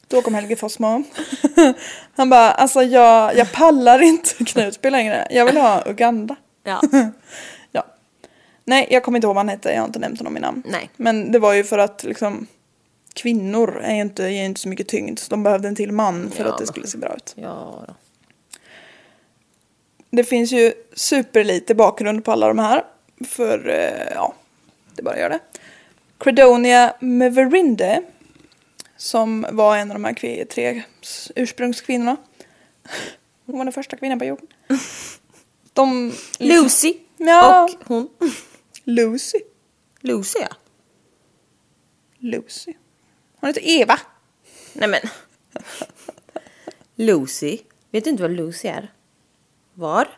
Speaker 1: Då kom Helge Fossmo. Han bara, alltså jag, jag pallar inte Knutby längre. Jag vill ha Uganda.
Speaker 2: Ja.
Speaker 1: Ja. Nej, jag kommer inte ihåg vad han hette. Jag har inte nämnt honom i namn.
Speaker 2: Nej.
Speaker 1: Men det var ju för att liksom kvinnor är ju inte, ger ju inte så mycket tyngd. Så de behövde en till man för
Speaker 2: Ja,
Speaker 1: att det
Speaker 2: men-
Speaker 1: skulle se bra ut.
Speaker 2: Ja, då.
Speaker 1: Det finns ju superlite bakgrund på alla de här. För, eh, ja, det bara gör det. Credonia Meverinde, som var en av de här kvi- tre s- ursprungskvinnorna. Hon var den första kvinnan på jorden. De...
Speaker 2: Lucy
Speaker 1: Ja.
Speaker 2: och hon.
Speaker 1: Lucy.
Speaker 2: Lucy, ja.
Speaker 1: Lucy. Hon heter Eva.
Speaker 2: Nej men. Lucy. Vet du inte vad Lucy är? Var?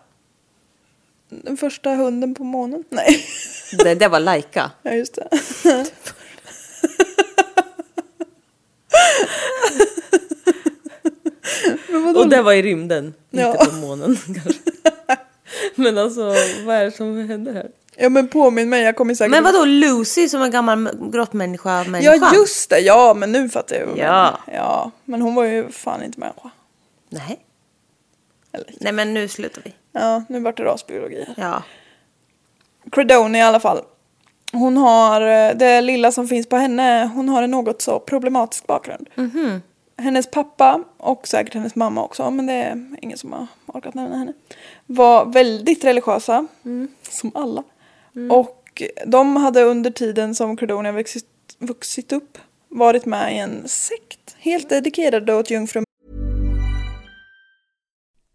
Speaker 1: Den första hunden på månen. Nej,
Speaker 2: Det, det var Laika.
Speaker 1: ja just det.
Speaker 2: Och det var i rymden.
Speaker 1: Ja.
Speaker 2: Inte på månen kanske. Men alltså, vad är det som händer här?
Speaker 1: Ja men påminn mig, jag kommer säkert...
Speaker 2: Men vadå Lucy som en gammal m- grottmänniska?
Speaker 1: Ja
Speaker 2: människa?
Speaker 1: just det, ja men nu fattar jag vad du
Speaker 2: Ja.
Speaker 1: menar. ja, men hon var ju fan inte människa.
Speaker 2: Nej.
Speaker 1: Eller-
Speaker 2: Nej men nu slutar vi.
Speaker 1: Ja, nu vart det rasbiologi här.
Speaker 2: Ja.
Speaker 1: Credonia i alla fall. Hon har, eh, det lilla som finns på henne, hon har en något så problematisk bakgrund. Hennes pappa och säkert hennes mamma också, men det är ingen som har orkat nämna henne. Var väldigt religiösa, som alla. Och de hade under tiden som Credonia vuxit, vuxit upp varit med i en sekt. Helt dedikerade åt jungfru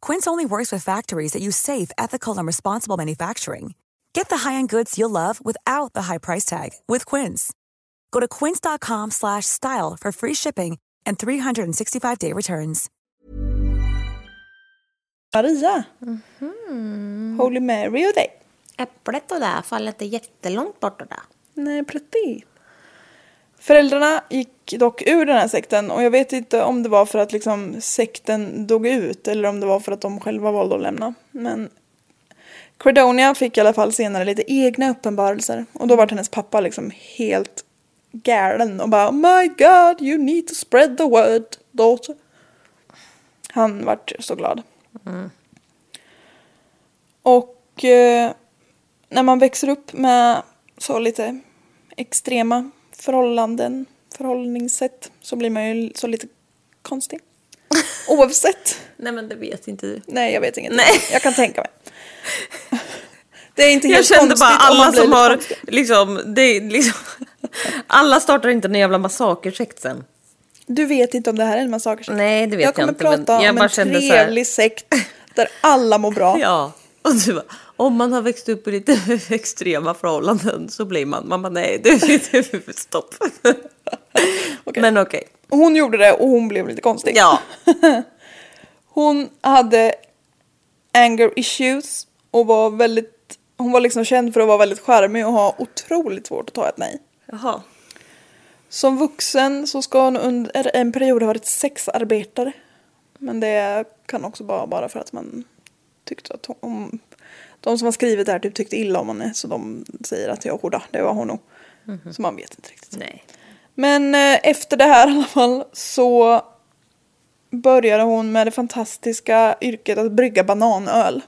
Speaker 3: Quince only works with factories that use safe, ethical, and responsible manufacturing. Get the high-end goods you'll love without the high price tag with Quince. Go to quince.com slash style for free shipping and 365-day returns.
Speaker 1: Maria. Holy Mary och dig.
Speaker 2: Äpplet och där faller inte jättelångt bort och där.
Speaker 1: Nej, precis. Föräldrarna gick dock ur den här sekten och jag vet inte om det var för att liksom sekten dog ut eller om det var för att de själva valde att lämna. Men Credonia fick i alla fall senare lite egna uppenbarelser och då var hennes pappa liksom helt galen och bara oh my god you need to spread the word daughter. Han vart så glad. Och eh, när man växer upp med så lite extrema förhållanden, förhållningssätt så blir man ju så lite konstig. Oavsett.
Speaker 2: Nej men det vet inte du.
Speaker 1: Nej, jag vet inget.
Speaker 2: Nej.
Speaker 1: Jag kan tänka mig. Det är inte
Speaker 2: Jag
Speaker 1: helt
Speaker 2: kände
Speaker 1: konstigt
Speaker 2: bara
Speaker 1: om man
Speaker 2: alla
Speaker 1: blir
Speaker 2: som
Speaker 1: lite
Speaker 2: har
Speaker 1: konstig.
Speaker 2: liksom, det är liksom, alla startar inte en jävla massakersekt sen.
Speaker 1: Du vet inte om det här är en massage.
Speaker 2: Nej, det vet
Speaker 1: jag kommer
Speaker 2: jag inte, men
Speaker 1: prata
Speaker 2: jag
Speaker 1: om
Speaker 2: bara
Speaker 1: en
Speaker 2: kände så här-
Speaker 1: trevlig sekt där alla mår bra.
Speaker 2: Ja, och du bara, om man har växt upp i lite extrema förhållanden så blir man, man bara nej, det är stopp. Men okej,
Speaker 1: Hon gjorde det och hon blev lite konstig.
Speaker 2: ja.
Speaker 1: Hon hade anger issues och var väldigt, hon var liksom känd för att vara väldigt charmig och ha otroligt svårt att ta ett nej.
Speaker 2: Jaha.
Speaker 1: Som vuxen så ska hon under en period ha varit sexarbetare. Men det kan också vara bara för att man tyckte att hon... De som har skrivit det här typ tyckte illa om henne så de säger att jag då, det var hon nog. Så man vet inte riktigt.
Speaker 2: Nej.
Speaker 1: Men eh, efter det här i alla fall så började hon med det fantastiska yrket att brygga bananöl.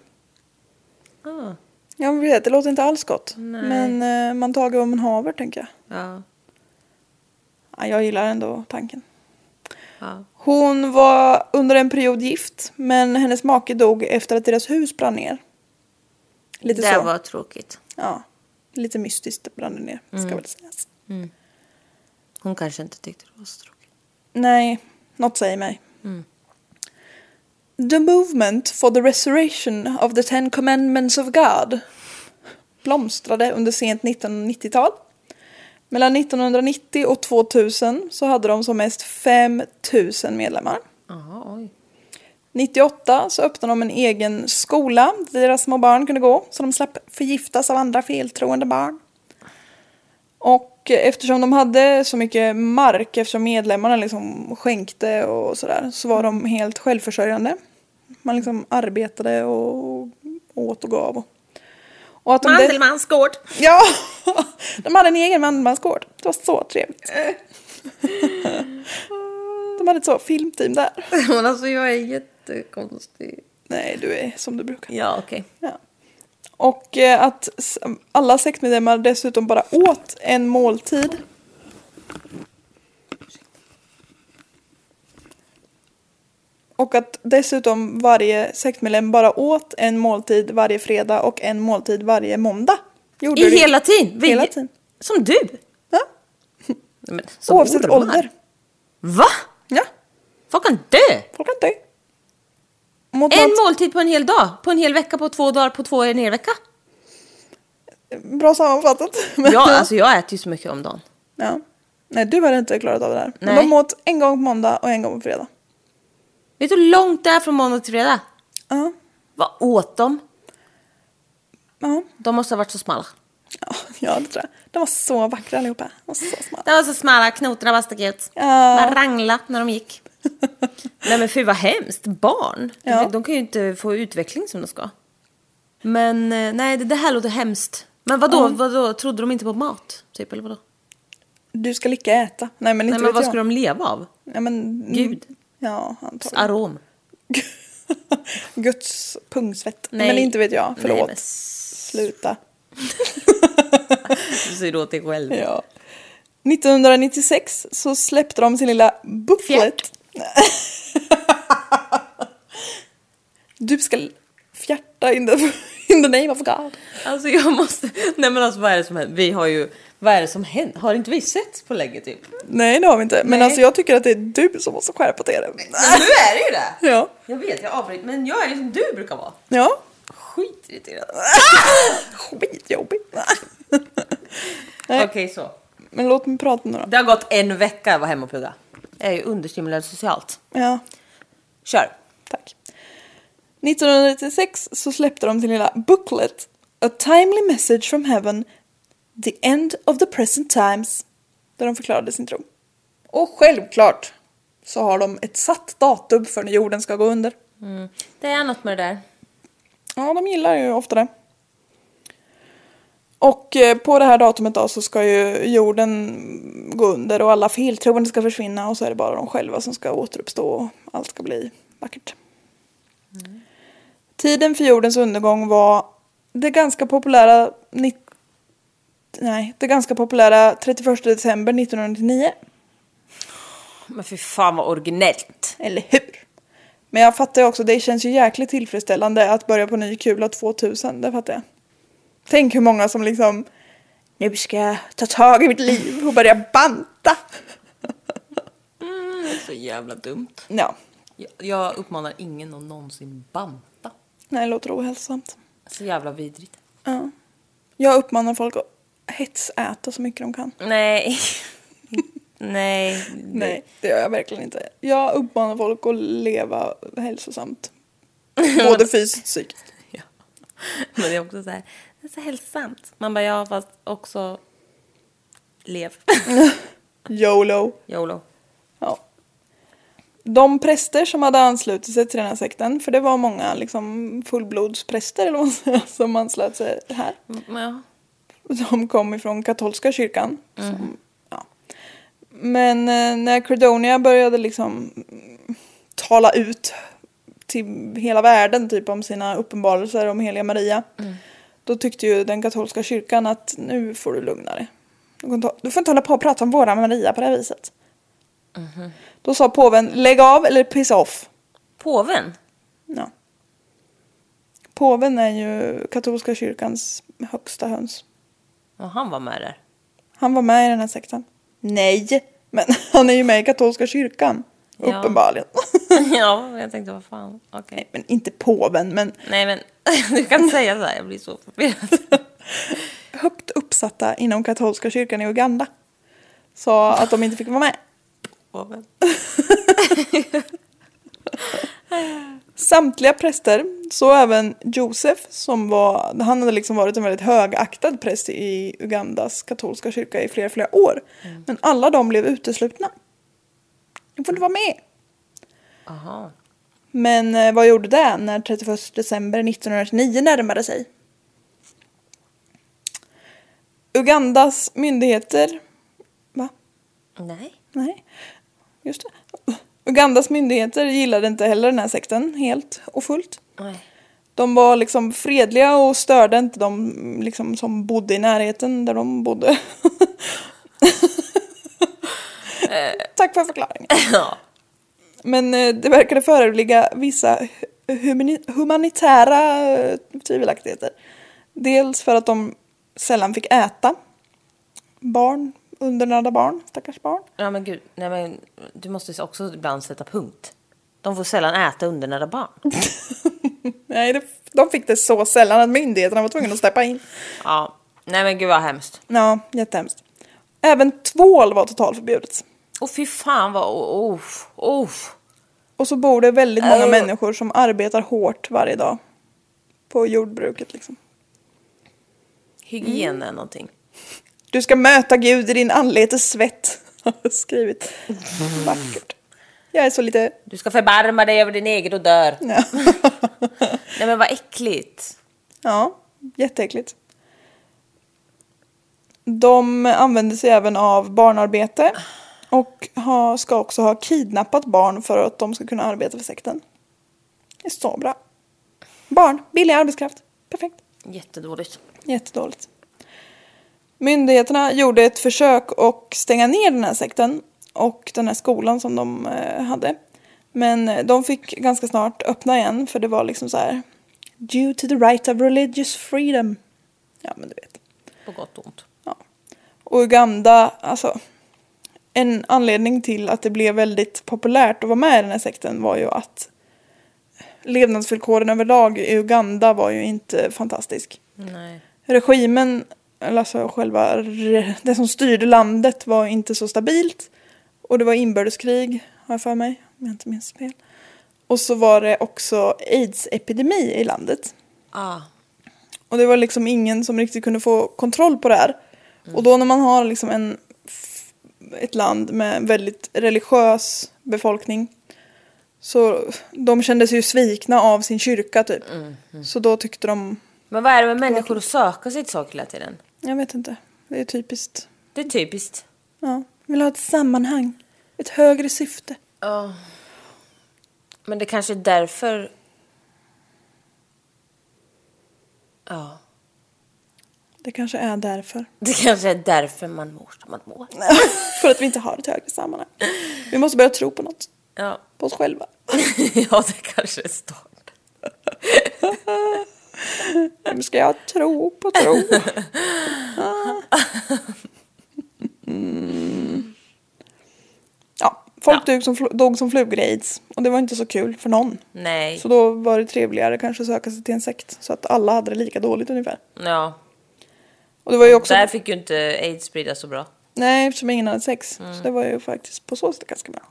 Speaker 2: Ah,
Speaker 1: Jag vet, det låter inte alls gott. Men eh, man tager vad man haver tänker jag.
Speaker 2: ja.
Speaker 1: Ja, jag gillar ändå tanken.
Speaker 2: Ja.
Speaker 1: Hon var under en period gift men hennes make dog efter att deras hus brann ner. Lite
Speaker 2: det
Speaker 1: så.
Speaker 2: var tråkigt.
Speaker 1: Ja, lite mystiskt det brann ner ska
Speaker 2: Mm.
Speaker 1: väl sägas.
Speaker 2: Hon kanske inte tyckte det var så tråkigt.
Speaker 1: Nej, något säger mig. The movement for the restoration of the ten commandments of God blomstrade under sent 1990-tal. Mellan 1990 och 2000 så hade de som mest 5000 medlemmar.
Speaker 2: Jaha, oj.
Speaker 1: 98 så öppnade de en egen skola där deras små barn kunde gå så de slapp förgiftas av andra feltroende barn. Och eftersom de hade så mycket mark, eftersom medlemmarna liksom skänkte och sådär, så var de helt självförsörjande. Man liksom arbetade och åt och gav. och- Och att de dess-
Speaker 2: Mandelmanns gård.
Speaker 1: Ja, de hade en egen mandelmansgård. Det var så trevligt. De hade ett så filmteam där.
Speaker 2: Men alltså jag är jättekonstig.
Speaker 1: Nej, du är som du brukar.
Speaker 2: Ja, okej.
Speaker 1: Ja. Och eh, att s- alla sektmedlemmar dessutom bara åt en måltid. Och att dessutom varje sektmedlem bara åt en måltid varje fredag och en måltid varje måndag. Gjorde
Speaker 2: I
Speaker 1: det.
Speaker 2: hela tiden?
Speaker 1: Hela tiden.
Speaker 2: Som du?
Speaker 1: Ja.
Speaker 2: Nej, men, som
Speaker 1: Oavsett
Speaker 2: ormar.
Speaker 1: ålder.
Speaker 2: Va?
Speaker 1: Ja,
Speaker 2: Folk kan dö!
Speaker 1: folk kan dö. Mot
Speaker 2: En
Speaker 1: något
Speaker 2: måltid på en hel dag, på en hel vecka, på två dagar, på två en hel vecka.
Speaker 1: bra sammanfattat. Men-
Speaker 2: Ja, alltså jag äter ju så mycket om dagen.
Speaker 1: ja. Nej, du hade inte klarat av det där. Men
Speaker 2: Nej.
Speaker 1: de åt en gång på måndag och en gång på fredag.
Speaker 2: Vet du hur långt det är från måndag till fredag?
Speaker 1: Ja.
Speaker 2: Vad åt de?
Speaker 1: Ja.
Speaker 2: De måste ha varit så smala.
Speaker 1: Ja, ja, det tror jag. De var så vackra allihopa. De var så smarta.
Speaker 2: De var så smala, knotorna var stack ut.
Speaker 1: Ja.
Speaker 2: De rangla när de gick. Nej men fy vad hemskt, barn. De-
Speaker 1: Ja.
Speaker 2: De kan ju inte få utveckling som de ska. Men eh, nej, det, det här låter hemskt. Men vadå, vadå, trodde de inte på mat? Typ, eller vadå?
Speaker 1: Du ska lika äta. Nej men inte
Speaker 2: Nej men
Speaker 1: vet
Speaker 2: vad
Speaker 1: jag.
Speaker 2: skulle de leva av?
Speaker 1: Ja, men...
Speaker 2: Gud.
Speaker 1: Ja, antagligen.
Speaker 2: Arom?
Speaker 1: Guds pungsvett.
Speaker 2: Nej.
Speaker 1: Men inte vet jag. Förlåt.
Speaker 2: Nej, men
Speaker 1: Sluta.
Speaker 2: säg då åt dig själv.
Speaker 1: Ja. 1996 så släppte de sin lilla booklet. du ska fjärta in det. In the name of God.
Speaker 2: Alltså jag måste... Nej men alltså vad är det som händer? Vi har ju... Vad är det som händer? Har inte vi sett på länge typ?
Speaker 1: Nej det har vi inte. Men
Speaker 2: Nej.
Speaker 1: alltså jag tycker att det är du som måste skärpa till dig.
Speaker 2: nu är det ju det!
Speaker 1: Ja.
Speaker 2: Jag vet, jag avbryter. Men jag är ju som du brukar vara.
Speaker 1: Ja.
Speaker 2: Skitirriterad.
Speaker 1: Skitjobbig.
Speaker 2: Okej
Speaker 1: Nej.
Speaker 2: så.
Speaker 1: Men låt mig prata nu då.
Speaker 2: Det har gått en vecka att vara hemma och plugga. Jag är ju understimulerad socialt.
Speaker 1: Ja,
Speaker 2: Kör!
Speaker 1: tack. 1996 så släppte de sin lilla booklet A Timely Message from Heaven The End of the Present Times där de förklarade sin tro. Och självklart så har de ett satt datum för när jorden ska gå under.
Speaker 2: Det är något med det där.
Speaker 1: Ja, de gillar ju ofta det. Och eh, på det här datumet då så ska ju jorden gå under och alla feltroende ska försvinna och så är det bara de själva som ska återuppstå och allt ska bli vackert. Tiden för jordens undergång var det ganska populära ni- Nej, det ganska populära 31 december 1999.
Speaker 2: Men fy fan vad originellt.
Speaker 1: Eller hur? Men jag fattar ju också, det känns ju jäkligt tillfredsställande att börja på ny kula 2000, det fattar jag. Tänk hur många som liksom, nu ska jag ta tag i mitt liv och börja banta.
Speaker 2: Så jävla dumt.
Speaker 1: Ja,
Speaker 2: Jag, jag uppmanar ingen att någonsin banta.
Speaker 1: nej det låter ohälsosamt.
Speaker 2: Så jävla vidrigt.
Speaker 1: Ja. Jag uppmanar folk att hetsäta så mycket de kan.
Speaker 2: Nej. Nej.
Speaker 1: Nej, det gör jag verkligen inte. Jag uppmanar folk att leva hälsosamt. Både fysiskt och psykiskt.
Speaker 2: Ja. Men det är också så här, det är så hälsosamt. Man bara, ja fast också lev.
Speaker 1: YOLO.
Speaker 2: YOLO.
Speaker 1: Ja. De präster som hade anslutit sig till den här sekten, för det var många liksom, fullblodspräster eller vad man säger, som anslöt sig här.
Speaker 2: Mm, Ja.
Speaker 1: De kom ifrån katolska kyrkan. Som, ja. Men eh, när Credonia började liksom mm, tala ut till hela världen typ om sina uppenbarelser om heliga Maria. Då tyckte ju den katolska kyrkan att nu får du lugna dig. Du, kan ta, du får inte hålla på och prata om våra Maria på det här viset. Då sa påven lägg av eller piss off.
Speaker 2: Påven?
Speaker 1: Ja. Påven är ju katolska kyrkans högsta höns.
Speaker 2: Ja, han var med där.
Speaker 1: Han var med i den här sekten. Nej, men han är ju med i katolska kyrkan.
Speaker 2: Ja.
Speaker 1: Uppenbarligen.
Speaker 2: ja, jag tänkte vad fan. Okej.
Speaker 1: Nej, men inte påven, men
Speaker 2: Nej men du kan inte säga så här, jag blir så förvirrad.
Speaker 1: högt uppsatta inom katolska kyrkan i Uganda sa att de inte fick vara med.
Speaker 2: Påven.
Speaker 1: Samtliga präster, så även Josef som var, han hade liksom varit en väldigt högaktad präst i Ugandas katolska kyrka i flera, flera år. Men alla de blev uteslutna. De får inte vara med.
Speaker 2: Aha.
Speaker 1: Men eh, vad gjorde det när 31 december 1999 närmade sig? Ugandas myndigheter... Va?
Speaker 2: Nej.
Speaker 1: Nej, just det. Ugandas myndigheter gillade inte heller den här sekten helt och fullt.
Speaker 2: Nej.
Speaker 1: De var liksom fredliga och störde inte de liksom, som bodde i närheten där de bodde. Tack för förklaringen.
Speaker 2: Ja.
Speaker 1: Men eh, det verkade föreligga vissa hu- humani- humanitära eh, tvivelaktigheter. Dels för att de sällan fick äta barn, undernärda barn, stackars barn.
Speaker 2: Ja men gud, nej men du måste ju också ibland sätta punkt. De får sällan äta undernärda barn.
Speaker 1: Nej, det, de fick det så sällan att myndigheterna var tvungna att steppa in.
Speaker 2: Ja, nej men gud vad hemskt.
Speaker 1: Ja, jättehemskt. Även tvål var totalförbjudet.
Speaker 2: Och fy fan vad, oh, oh, oh.
Speaker 1: Och så bor det väldigt många
Speaker 2: Äh.
Speaker 1: människor som arbetar hårt varje dag. På jordbruket liksom.
Speaker 2: Hygien är någonting.
Speaker 1: Du ska möta Gud i din anletes svett. Har jag skrivit. Vackert. Jag är så lite...
Speaker 2: Du ska förbarma dig över din egen och dör.
Speaker 1: Ja.
Speaker 2: Nej men vad äckligt.
Speaker 1: ja, jätteäckligt. De använder sig även av barnarbete. Och ha, ska också ha kidnappat barn för att de ska kunna arbeta för sekten. Det är så bra. Barn, billig arbetskraft. Perfekt.
Speaker 2: Jättedåligt.
Speaker 1: Jättedåligt. Myndigheterna gjorde ett försök att stänga ner den här sekten och den här skolan som de eh, hade. Men de fick ganska snart öppna igen för det var liksom så här. Due to the right of religious freedom. Ja, men du vet.
Speaker 2: På gott och ont.
Speaker 1: Och Uganda, alltså. En anledning till att det blev väldigt populärt att vara med i den här sekten var ju att eh, levnadsvillkoren överlag i Uganda var ju inte fantastisk.
Speaker 2: Nej.
Speaker 1: Regimen, eller alltså själva re- det som styrde landet var inte så stabilt. Och det var inbördeskrig, har jag för mig, om jag inte minns fel. Och så var det också aids-epidemi i landet.
Speaker 2: Ah.
Speaker 1: Och det var liksom ingen som riktigt kunde få kontroll på det här. Och då när man har liksom en, f- ett land med en väldigt religiös befolkning så de kände sig ju svikna av sin kyrka typ. Så då tyckte de,
Speaker 2: Men vad är det med människor att söka sig till saker hela tiden?
Speaker 1: jag vet inte, det är typiskt.
Speaker 2: Det är typiskt.
Speaker 1: Ja, vill ha ett sammanhang, ett högre syfte.
Speaker 2: Ja. Men det kanske är därför... Ja.
Speaker 1: Det kanske är därför.
Speaker 2: Det kanske är därför man mår som man mår.
Speaker 1: För att vi inte har ett högre sammanhang. Vi måste börja tro på något,
Speaker 2: Ja.
Speaker 1: på oss själva.
Speaker 2: ja, det kanske är start.
Speaker 1: Nu ska jag tro på tro. Ah. Mm. Ja, folk dog, som, fl- dog som flugor i aids och det var inte så kul för någon.
Speaker 2: Nej.
Speaker 1: Så då var det trevligare kanske att söka sig till en sekt så att alla hade det lika dåligt ungefär.
Speaker 2: Ja.
Speaker 1: Och det var ju också,
Speaker 2: Där fick ju inte aids spridas så bra.
Speaker 1: nej eftersom ingen hade sex.
Speaker 2: Mm.
Speaker 1: Så det var ju faktiskt på så sätt ganska bra.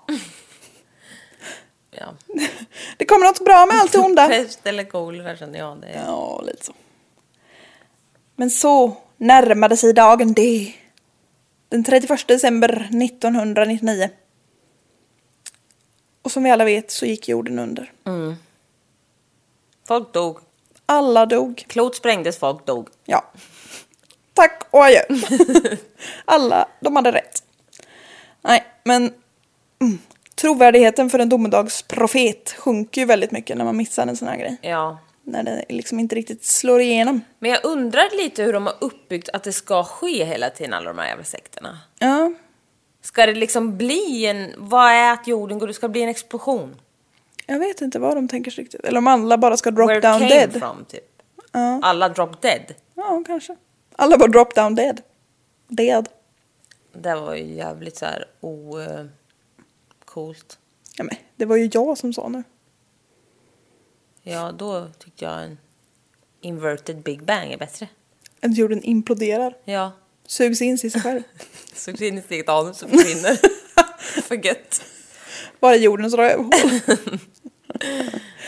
Speaker 2: Ja.
Speaker 1: Det kommer något bra med allt det onda.
Speaker 2: Pest eller kolera känner jag. Det är...
Speaker 1: Ja, lite så. Men så närmade sig dagen D. Den 31 december 1999. Och som vi alla vet så gick jorden under.
Speaker 2: Folk dog.
Speaker 1: Alla dog.
Speaker 2: Klot sprängdes, folk dog.
Speaker 1: Ja. Tack och adjö. Alla, de hade rätt. Nej, men mm, trovärdigheten för en domedagsprofet sjunker ju väldigt mycket när man missar en sån här grej.
Speaker 2: Ja.
Speaker 1: När det liksom inte riktigt slår igenom.
Speaker 2: Men jag undrar lite hur de har uppbyggt att det ska ske hela tiden, alla de här jävla sekterna.
Speaker 1: Ja,
Speaker 2: Ska det liksom bli en... Vad är att jorden går... Det ska bli en explosion.
Speaker 1: Jag vet inte vad de tänker sig riktigt. Eller om alla bara ska drop
Speaker 2: Where it
Speaker 1: down
Speaker 2: came
Speaker 1: dead.
Speaker 2: from, typ.
Speaker 1: Ja.
Speaker 2: Alla drop dead.
Speaker 1: ja, kanske. Alla bara drop down dead. Dead.
Speaker 2: Det var ju jävligt så här o... eh, coolt.
Speaker 1: Ja, men, det var ju jag som sa nu.
Speaker 2: Ja, då tyckte jag en inverted big bang är bättre.
Speaker 1: Att jorden imploderar.
Speaker 2: Ja.
Speaker 1: Sugs in i sig själv.
Speaker 2: Sugs in i sitt eget anus och försvinner. För gött.
Speaker 1: Bara jordens rövhål.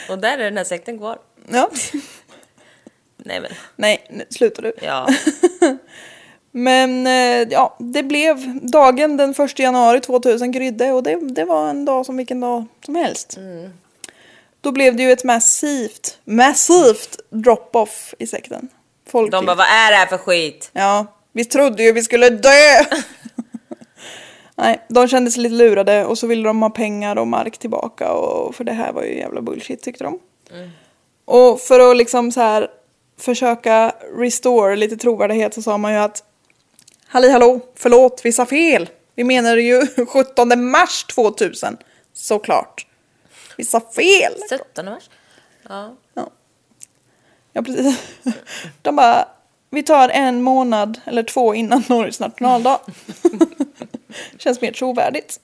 Speaker 2: Och där är den här sekten kvar.
Speaker 1: Ja.
Speaker 2: Nej men,
Speaker 1: Nej, nu slutar du.
Speaker 2: ja.
Speaker 1: Men eh, ja, det blev dagen den 1 januari 2000 grydde och det, det var en dag som vilken dag som helst.
Speaker 2: Mm.
Speaker 1: Då blev det ju ett massivt, massivt drop-off i sekten. Folk
Speaker 2: De
Speaker 1: gick-
Speaker 2: bara, vad är det här för skit?
Speaker 1: Ja, vi trodde ju vi skulle dö! Nej, de kände sig lite lurade och så ville de ha pengar och mark tillbaka och för det här var ju jävla bullshit tyckte de. Och för att liksom så här försöka restore lite trovärdighet så sa man ju att Halli hallå, förlåt, vi sa fel. Vi menar ju 17 mars 2000, såklart. Vi sa fel.
Speaker 2: 17 mars? Ja.
Speaker 1: Ja, precis. De bara, vi tar en månad eller två innan Norges nationaldag. Känns mer trovärdigt.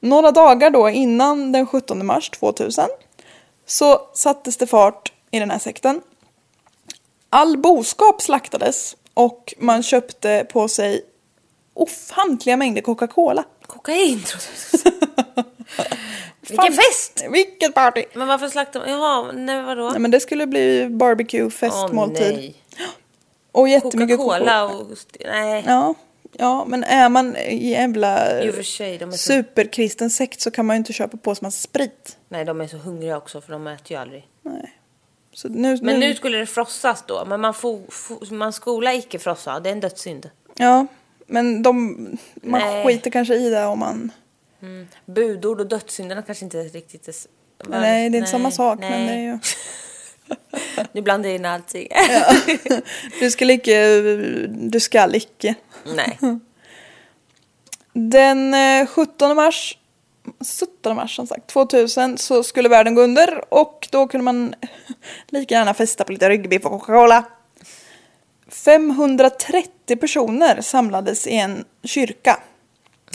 Speaker 1: Några dagar då innan den 17 mars 2000 så sattes det fart i den här sekten. All boskap slaktades och man köpte på sig ofantliga mängder Coca-Cola.
Speaker 2: Kokain trodde jag. Vilken fest!
Speaker 1: Vilket party!
Speaker 2: Men varför slaktade de? Jaha, nej vadå?
Speaker 1: Nej, men det skulle bli barbecue,
Speaker 2: Åh,
Speaker 1: festmåltid.
Speaker 2: nej.
Speaker 1: och jättemycket
Speaker 2: Coca-Cola
Speaker 1: Coca-Cola.
Speaker 2: och... Nej.
Speaker 1: Ja, ja, men är man i en jävla
Speaker 2: I och för sig, de är så-
Speaker 1: superkristen sekt så kan man ju inte köpa på sig massa sprit.
Speaker 2: nej, de är så hungriga också för de äter ju aldrig.
Speaker 1: Nej. Så nu,
Speaker 2: Men nu skulle det frossas då. Men man, får, får, man skola icke frossa. Det är en dödssynd.
Speaker 1: Ja, men de... Man
Speaker 2: Nej.
Speaker 1: skiter kanske i det om man...
Speaker 2: Budord och dödssynderna kanske inte riktigt är... s-
Speaker 1: Nej, det är inte samma sak, men det är ju...
Speaker 2: Nu blandar jag in allting.
Speaker 1: Du ska icke... Du ska icke.
Speaker 2: nej.
Speaker 1: Den eh, 17 mars 17 mars som sagt, 2000 så skulle världen gå under och då kunde man lika gärna festa på lite ryggbiff och Coca-Cola. 530 personer samlades i en kyrka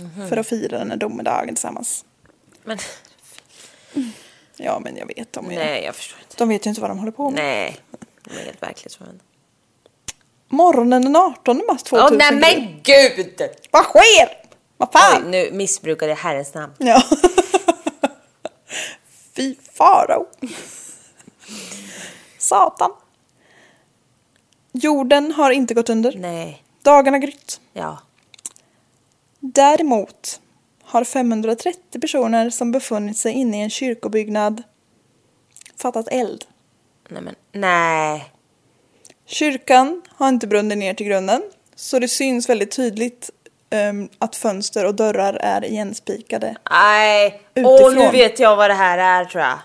Speaker 2: Mhm.
Speaker 1: för att fira den här domedagen tillsammans.
Speaker 2: Men
Speaker 1: Ja men jag vet, de, är,
Speaker 2: nej, jag förstår inte.
Speaker 1: de vet ju inte vad de håller på med.
Speaker 2: Nej, det är helt verklighetsfrånvänd.
Speaker 1: Morgonen den 18 mars
Speaker 2: Åh
Speaker 1: 2000.
Speaker 2: nej
Speaker 1: Gry.
Speaker 2: men gud!
Speaker 1: Vad sker? Vad
Speaker 2: Oj,
Speaker 1: fan?
Speaker 2: nu missbrukade jag herrens namn.
Speaker 1: Ja. Fy farao. Satan. Jorden har inte gått under.
Speaker 2: Nej,
Speaker 1: Dagen har grytt.
Speaker 2: ja.
Speaker 1: Däremot har 530 personer som befunnit sig inne i en kyrkobyggnad fattat eld.
Speaker 2: Nej men, nej.
Speaker 1: Kyrkan har inte brunnit ner till grunden så det syns väldigt tydligt ehm, att fönster och dörrar är igenspikade.
Speaker 2: Nej. Åh,
Speaker 1: Utifrån.
Speaker 2: nu vet jag vad det här är tror jag.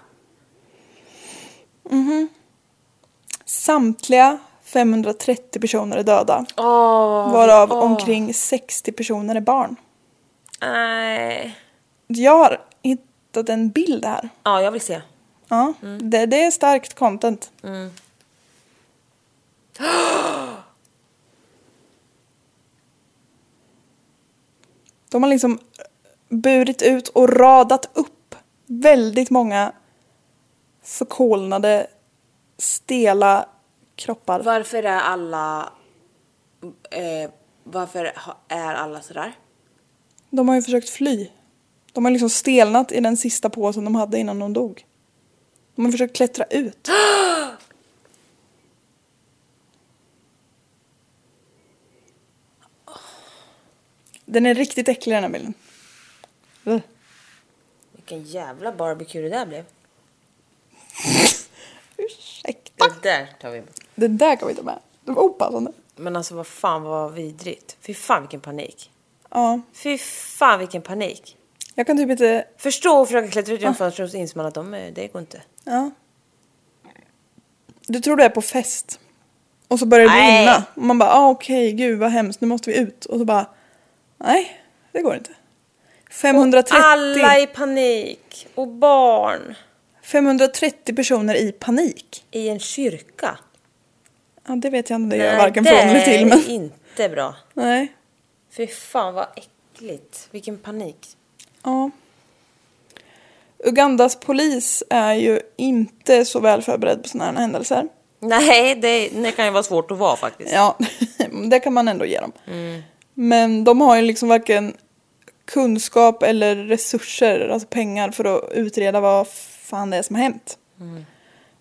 Speaker 1: Samtliga 530 personer är döda.
Speaker 2: Åh.
Speaker 1: Varav
Speaker 2: åh.
Speaker 1: omkring 60 personer är barn.
Speaker 2: Nej.
Speaker 1: Jag har hittat en bild här.
Speaker 2: Ja, jag vill se.
Speaker 1: Ja, det, det är starkt content. De har liksom burit ut och radat upp väldigt många förkolnade, stela kroppar.
Speaker 2: Varför är alla... Eh, varför ha- är alla sådär?
Speaker 1: De har ju försökt fly. De har liksom stelnat i den sista påsen de hade innan de dog. De har försökt klättra ut. Den är riktigt äcklig den här bilden. Ugh.
Speaker 2: Vilken jävla barbecue det där blev.
Speaker 1: Ursäkta.
Speaker 2: Det där tar vi bort.
Speaker 1: Det där kan vi inte med. Det var opassande.
Speaker 2: Men alltså vad fan vad vidrigt. Fy fan vilken panik.
Speaker 1: Ja,
Speaker 2: Fy fan vilken panik.
Speaker 1: jag kan typ inte...
Speaker 2: Förstå och försöka klättra
Speaker 1: Ah.
Speaker 2: ut genom fönstret och så inser man att de, är- det går inte.
Speaker 1: Ja. Du tror du är på fest. Och så börjar det
Speaker 2: Nej.
Speaker 1: brinna. Och man bara, ah, okej, gud vad hemskt, nu måste vi ut. Och så bara, nej, det går inte. 530,
Speaker 2: Alla i panik. Och barn.
Speaker 1: 530 personer i panik.
Speaker 2: I en kyrka.
Speaker 1: Ja, det vet jag inte, det gör jag
Speaker 2: Nej,
Speaker 1: varken
Speaker 2: det
Speaker 1: från eller till. Men...
Speaker 2: är inte bra.
Speaker 1: Nej,
Speaker 2: Fy fan vad äckligt. Vilken panik.
Speaker 1: ja. Ugandas polis är ju inte så väl förberedd på sådana här händelser.
Speaker 2: Nej, det, det kan ju vara svårt att vara faktiskt.
Speaker 1: Ja, det kan man ändå ge dem. Men de har ju liksom varken kunskap eller resurser, alltså pengar för att utreda vad fan det är som har hänt.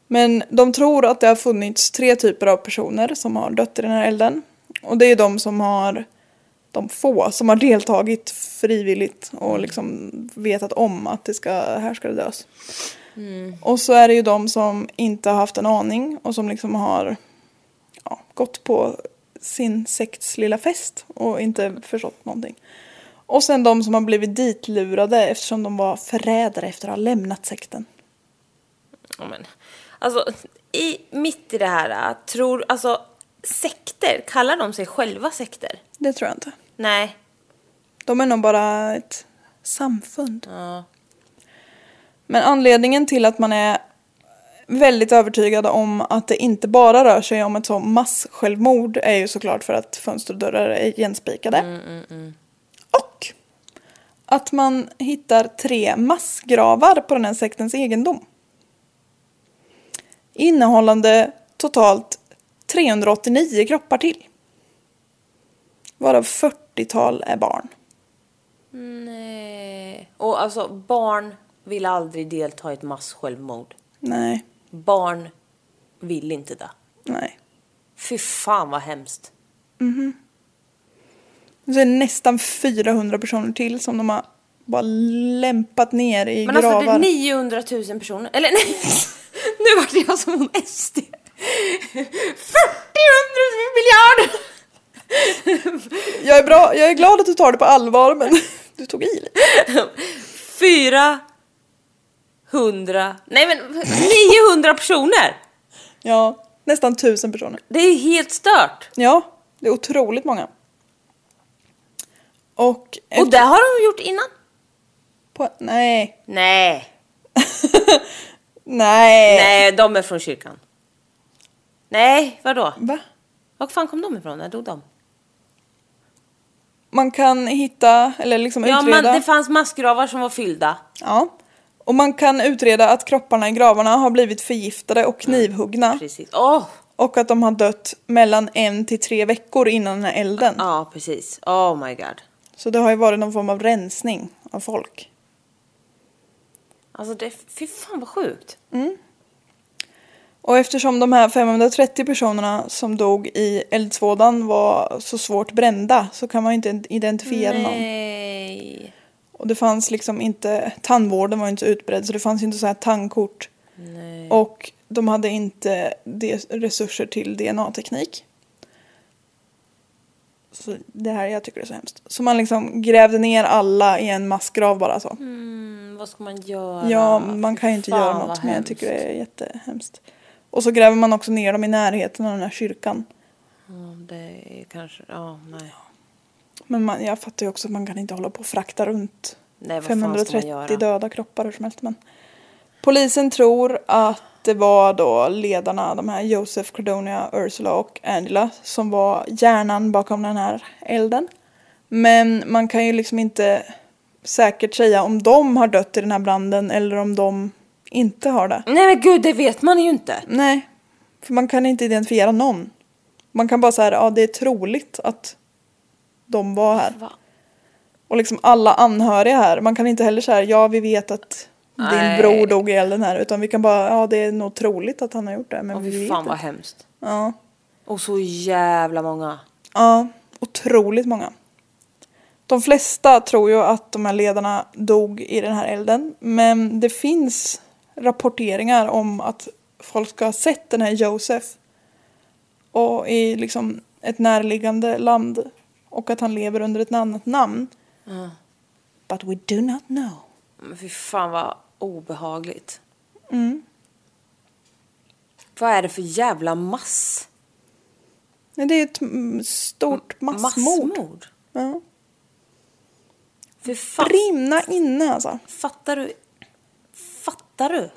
Speaker 1: Men de tror att det har funnits tre typer av personer som har dött i den här elden. Och det är de som har, de få som har deltagit frivilligt och liksom vetat om att det ska, här ska det dös. Och så är det ju de som inte har haft en aning och som liksom har ja, gått på sin sekts lilla fest och inte förstått någonting. Och sen de som har blivit ditlurade eftersom de var förrädare efter att ha lämnat sekten.
Speaker 2: Ja, men. Alltså, i, mitt i det här, tror, alltså sekter, kallar de sig själva sekter?
Speaker 1: Det tror jag inte.
Speaker 2: Nej.
Speaker 1: De är nog bara ett samfund.
Speaker 2: Ja.
Speaker 1: Men anledningen till att man är väldigt övertygad om att det inte bara rör sig om ett så massjälvmord är ju såklart för att fönster och dörrar är igenspikade. Och att man hittar tre massgravar på den här sektens egendom. Innehållande totalt 389 kroppar till. Varav 40-tal är barn.
Speaker 2: Nej. Och alltså, barn vill aldrig delta i ett massjälvmord.
Speaker 1: Nej,
Speaker 2: Barn vill inte det.
Speaker 1: nej.
Speaker 2: Fy fan vad hemskt.
Speaker 1: Så är det nästan 400 personer till som de har bara lämpat ner i
Speaker 2: Men
Speaker 1: gravar.
Speaker 2: alltså det är 900 000 personer, eller nej, nu vart jag som hon SD. 40 miljarder!
Speaker 1: jag, är bra, jag är glad att du tar det på allvar men du tog i lite.
Speaker 2: 400... Nej men 900 personer!
Speaker 1: Ja, nästan 1000 personer.
Speaker 2: Det är ju helt stört!
Speaker 1: Ja, det är otroligt många. Och,
Speaker 2: Och det har de gjort innan.
Speaker 1: På, nej.
Speaker 2: Nej.
Speaker 1: Nej.
Speaker 2: Nej, de är från kyrkan. Nej, vadå?
Speaker 1: Va?
Speaker 2: Var fan kom de ifrån? När dog de?
Speaker 1: Man kan hitta, eller liksom
Speaker 2: Ja,
Speaker 1: utreda.
Speaker 2: man, det fanns massgravar som var fyllda.
Speaker 1: Ja. Och man kan utreda att kropparna i gravarna har blivit förgiftade och knivhuggna.
Speaker 2: Precis. Åh!
Speaker 1: Och att de har dött mellan en till tre veckor innan den här elden.
Speaker 2: Ja, precis. Oh my god.
Speaker 1: Så det har ju varit någon form av rensning av folk.
Speaker 2: Alltså, det, fy fan vad sjukt.
Speaker 1: Och eftersom de här 530 personerna som dog i eldsvådan var så svårt brända så kan man ju inte identifiera någon.
Speaker 2: Nej.
Speaker 1: Och det fanns liksom inte, tandvården var ju inte så utbredd så det fanns ju inte så här tandkort. Och de hade inte de- resurser till DNA-teknik. Så det här, jag tycker det är så hemskt. Så man liksom grävde ner alla i en massgrav bara så.
Speaker 2: Mm, vad ska man göra?
Speaker 1: Ja, man kan ju inte
Speaker 2: Fan,
Speaker 1: göra
Speaker 2: vad
Speaker 1: något men jag
Speaker 2: hemskt.
Speaker 1: tycker det är jättehemskt. Och så gräver man också ner dem i närheten av den här kyrkan.
Speaker 2: Ja, Det är kanske... Ja, nej.
Speaker 1: Men man, jag fattar ju också att man kan inte hålla på och frakta runt
Speaker 2: Nej, vad fan ska man
Speaker 1: 530
Speaker 2: göra?
Speaker 1: döda kroppar hur som helst. Men polisen tror att det var då ledarna, de här Joseph, Credonia, Ursula och Angela som var hjärnan bakom den här elden. Men man kan ju liksom inte säkert säga om de har dött i den här branden eller om de inte har det.
Speaker 2: Nej men gud, det vet man ju inte.
Speaker 1: Nej, för man kan inte identifiera någon. Man kan bara säga ja det är troligt att de var här.
Speaker 2: Va?
Speaker 1: Och liksom alla anhöriga här, man kan inte heller säga ja vi vet att din
Speaker 2: Nej.
Speaker 1: bror dog i elden här utan vi kan bara, ja det är nog troligt att han har gjort det men
Speaker 2: Åh,
Speaker 1: vi
Speaker 2: fy
Speaker 1: vet
Speaker 2: fan vad
Speaker 1: inte.
Speaker 2: hemskt.
Speaker 1: Ja.
Speaker 2: Och så jävla många.
Speaker 1: ja, otroligt många. De flesta tror ju att de här ledarna dog i den här elden men det finns rapporteringar om att folk ska ha sett den här Josef och i liksom ett närliggande land och att han lever under ett annat namn. But we do not know.
Speaker 2: Men fy fan vad obehagligt.
Speaker 1: Mm.
Speaker 2: Vad är det för jävla mass...
Speaker 1: Nej, det är ett mm, stort massmord.
Speaker 2: massmord?
Speaker 1: Ja.
Speaker 2: Fy fan.
Speaker 1: Brinna inne alltså.
Speaker 2: Fattar du? Fattar du?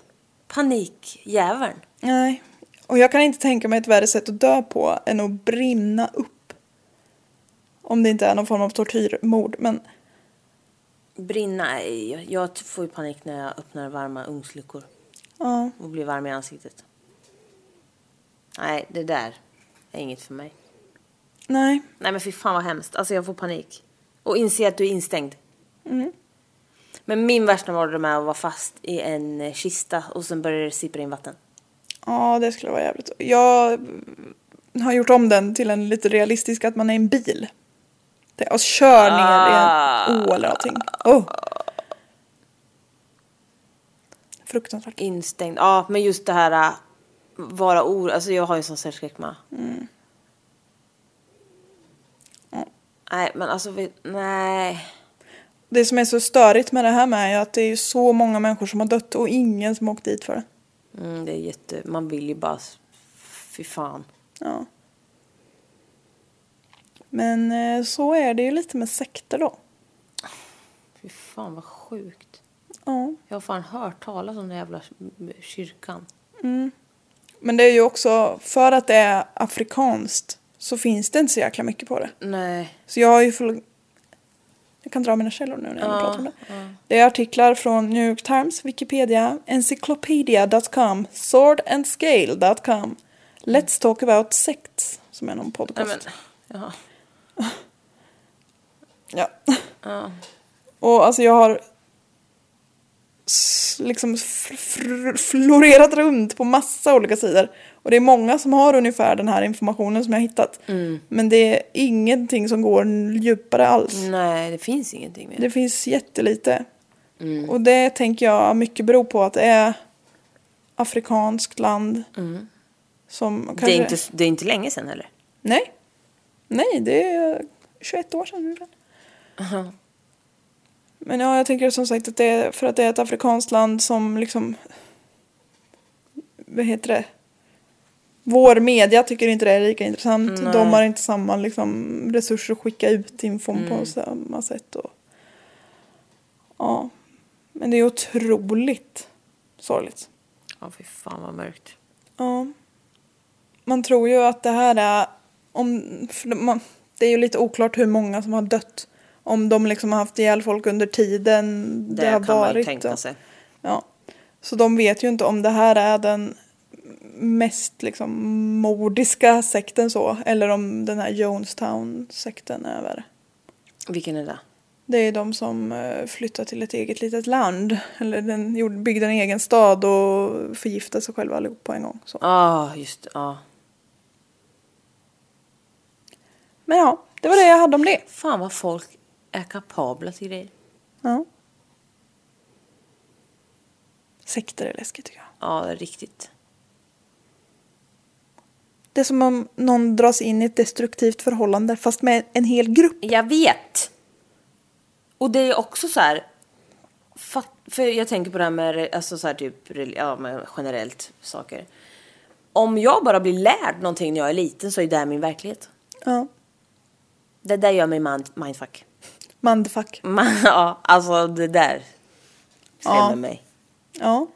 Speaker 2: Panikjäveln.
Speaker 1: Nej. Och jag kan inte tänka mig ett värre sätt att dö på än att brinna upp. Om det inte är någon form av tortyrmord. Men
Speaker 2: Brinna. Jag, jag får ju panik när jag öppnar varma ugnsluckor
Speaker 1: ja,
Speaker 2: och blir varm i ansiktet. Nej, det där är inget för mig.
Speaker 1: nej.
Speaker 2: Nej men fy fan vad hemskt. Alltså jag får panik. Och inse att du är instängd. Men min värsta mardröm är att vara fast i en eh, kista och sen börjar det sippra in vatten.
Speaker 1: Ja, det skulle vara jävligt. Jag mm, har gjort om den till en lite realistisk att man är i en bil. Det- Och kör ner i en å eller någonting. Oh. Fruktansvärt.
Speaker 2: Instängd. Ja, men just det här äh, vara or... Alltså jag har ju sån cellskräck med. Nej, men alltså vi... nej.
Speaker 1: Det som är så störigt med det här med är att det är ju så många människor som har dött och ingen som har åkt dit för det.
Speaker 2: Mm, det är jätte... Man vill ju bara... s- Fy fan.
Speaker 1: Ja. Men eh, så är det ju lite med sekter då.
Speaker 2: Fy fan vad sjukt.
Speaker 1: Ja.
Speaker 2: Jag har fan hört talas om den jävla kyrkan.
Speaker 1: Men det är ju också, för att det är afrikanskt så finns det inte så jäkla mycket på det.
Speaker 2: Nej.
Speaker 1: Så jag har ju full... Jag kan dra mina källor nu när jag pratar om det. Det är artiklar från New York Times, Wikipedia, Encyclopedia.com, Swordandscale.com, Let's Talk About Sects, som är någon
Speaker 2: Nej
Speaker 1: podcast.
Speaker 2: men... Ja.
Speaker 1: Ja. Och alltså jag har s- liksom fr- fr- florerat runt på massa olika sidor. Och det är många som har ungefär den här informationen som jag har hittat.
Speaker 2: Mm.
Speaker 1: Men det är ingenting som går djupare alls.
Speaker 2: Nej, det finns ingenting mer. Mm.
Speaker 1: Det finns jättelite. Och det tänker jag mycket beror på att det är afrikanskt land. Som kanske...
Speaker 2: Mm. Det är, inte, det är inte länge sedan heller.
Speaker 1: Nej. Nej, det är 21 år sedan ungefär. Men ja, jag tänker som sagt att det är för att det är ett afrikanskt land som liksom... Vad heter det? Vår media tycker inte det är lika intressant. De har inte samma liksom, resurser att skicka ut infon på samma sätt. Och, ja. Men det är otroligt sorgligt.
Speaker 2: Ja, fy fan vad mörkt.
Speaker 1: Ja. Man tror ju att det här är... Om, för det- man, det är ju lite oklart hur många som har dött. Om de liksom har haft ihjäl folk under tiden det,
Speaker 2: Det,
Speaker 1: har
Speaker 2: kan man ju
Speaker 1: varit.
Speaker 2: tänka
Speaker 1: och-
Speaker 2: sig.
Speaker 1: Ja. Så de vet ju inte om det här är den mest liksom mordiska sekten så. Eller om den här Jonestown-sekten är värre.
Speaker 2: Vilken är det?
Speaker 1: Det är de som eh, flyttar till ett eget litet land. Eller den gjorde- byggde en egen stad och förgiftade sig själva allihop på en gång. Så.
Speaker 2: Ja, Ah, just Ja.
Speaker 1: Men ja, det var det jag hade om det.
Speaker 2: Fan vad folk är kapabla till grejer.
Speaker 1: Ja. Sekter är läskigt tycker jag.
Speaker 2: Ja, det är riktigt.
Speaker 1: Det är som om någon dras in i ett destruktivt förhållande fast med en hel grupp.
Speaker 2: Jag vet. Och det är också så här. Fatt, för jag tänker på det här med alltså så här typ, rel- ja, men generellt saker. Om jag bara blir lärd någonting när jag är liten så är det här min verklighet.
Speaker 1: Ja.
Speaker 2: Det där gör mig mind, mindfuck.
Speaker 1: Mandfuck.
Speaker 2: Man, ja, alltså det där skrämmer
Speaker 1: Ja,
Speaker 2: mig.
Speaker 1: Ja.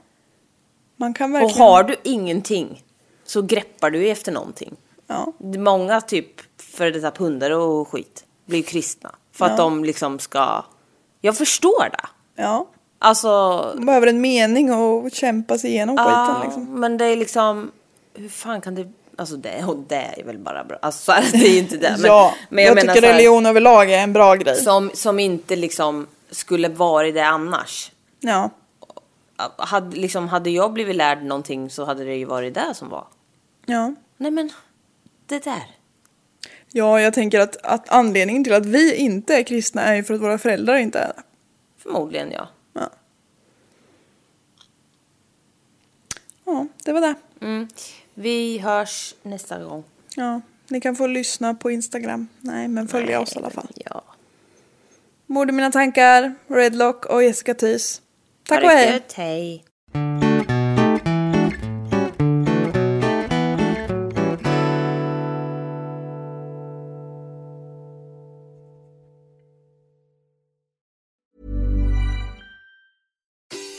Speaker 1: Man kan
Speaker 2: Och
Speaker 1: verkligen...
Speaker 2: har du ingenting så greppar du ju efter någonting.
Speaker 1: Ja.
Speaker 2: Många typ för detta pundare och skit blir ju kristna. För att de liksom ska... Jag förstår det.
Speaker 1: Ja.
Speaker 2: Alltså,
Speaker 1: Man behöver en mening och kämpa sig igenom skiten
Speaker 2: Ja,
Speaker 1: liksom.
Speaker 2: men det är liksom... Hur fan kan det... Alltså det, och det är väl bara bra. Alltså så här, det är ju inte det. Men,
Speaker 1: ja,
Speaker 2: men
Speaker 1: jag,
Speaker 2: menar så
Speaker 1: tycker
Speaker 2: här,
Speaker 1: religion överlag är en bra grej.
Speaker 2: Som, som inte liksom skulle vara det annars.
Speaker 1: Ja.
Speaker 2: Hade, liksom, hade jag blivit lärd någonting så hade det ju varit det som var.
Speaker 1: Ja.
Speaker 2: Nej men, det där.
Speaker 1: Ja, jag tänker att, att anledningen till att vi inte är kristna är ju för att våra föräldrar inte är det.
Speaker 2: Förmodligen ja.
Speaker 1: Ja. Ja, det var det.
Speaker 2: Mm. Vi hörs nästa gång.
Speaker 1: Ja, ni kan få lyssna på Instagram. Nej, men följa oss i alla fall.
Speaker 2: Ja.
Speaker 1: Mord i mina tankar, Redlock och Jessica Thys. Tack och
Speaker 2: Ha det
Speaker 1: hej!
Speaker 2: gött, hej.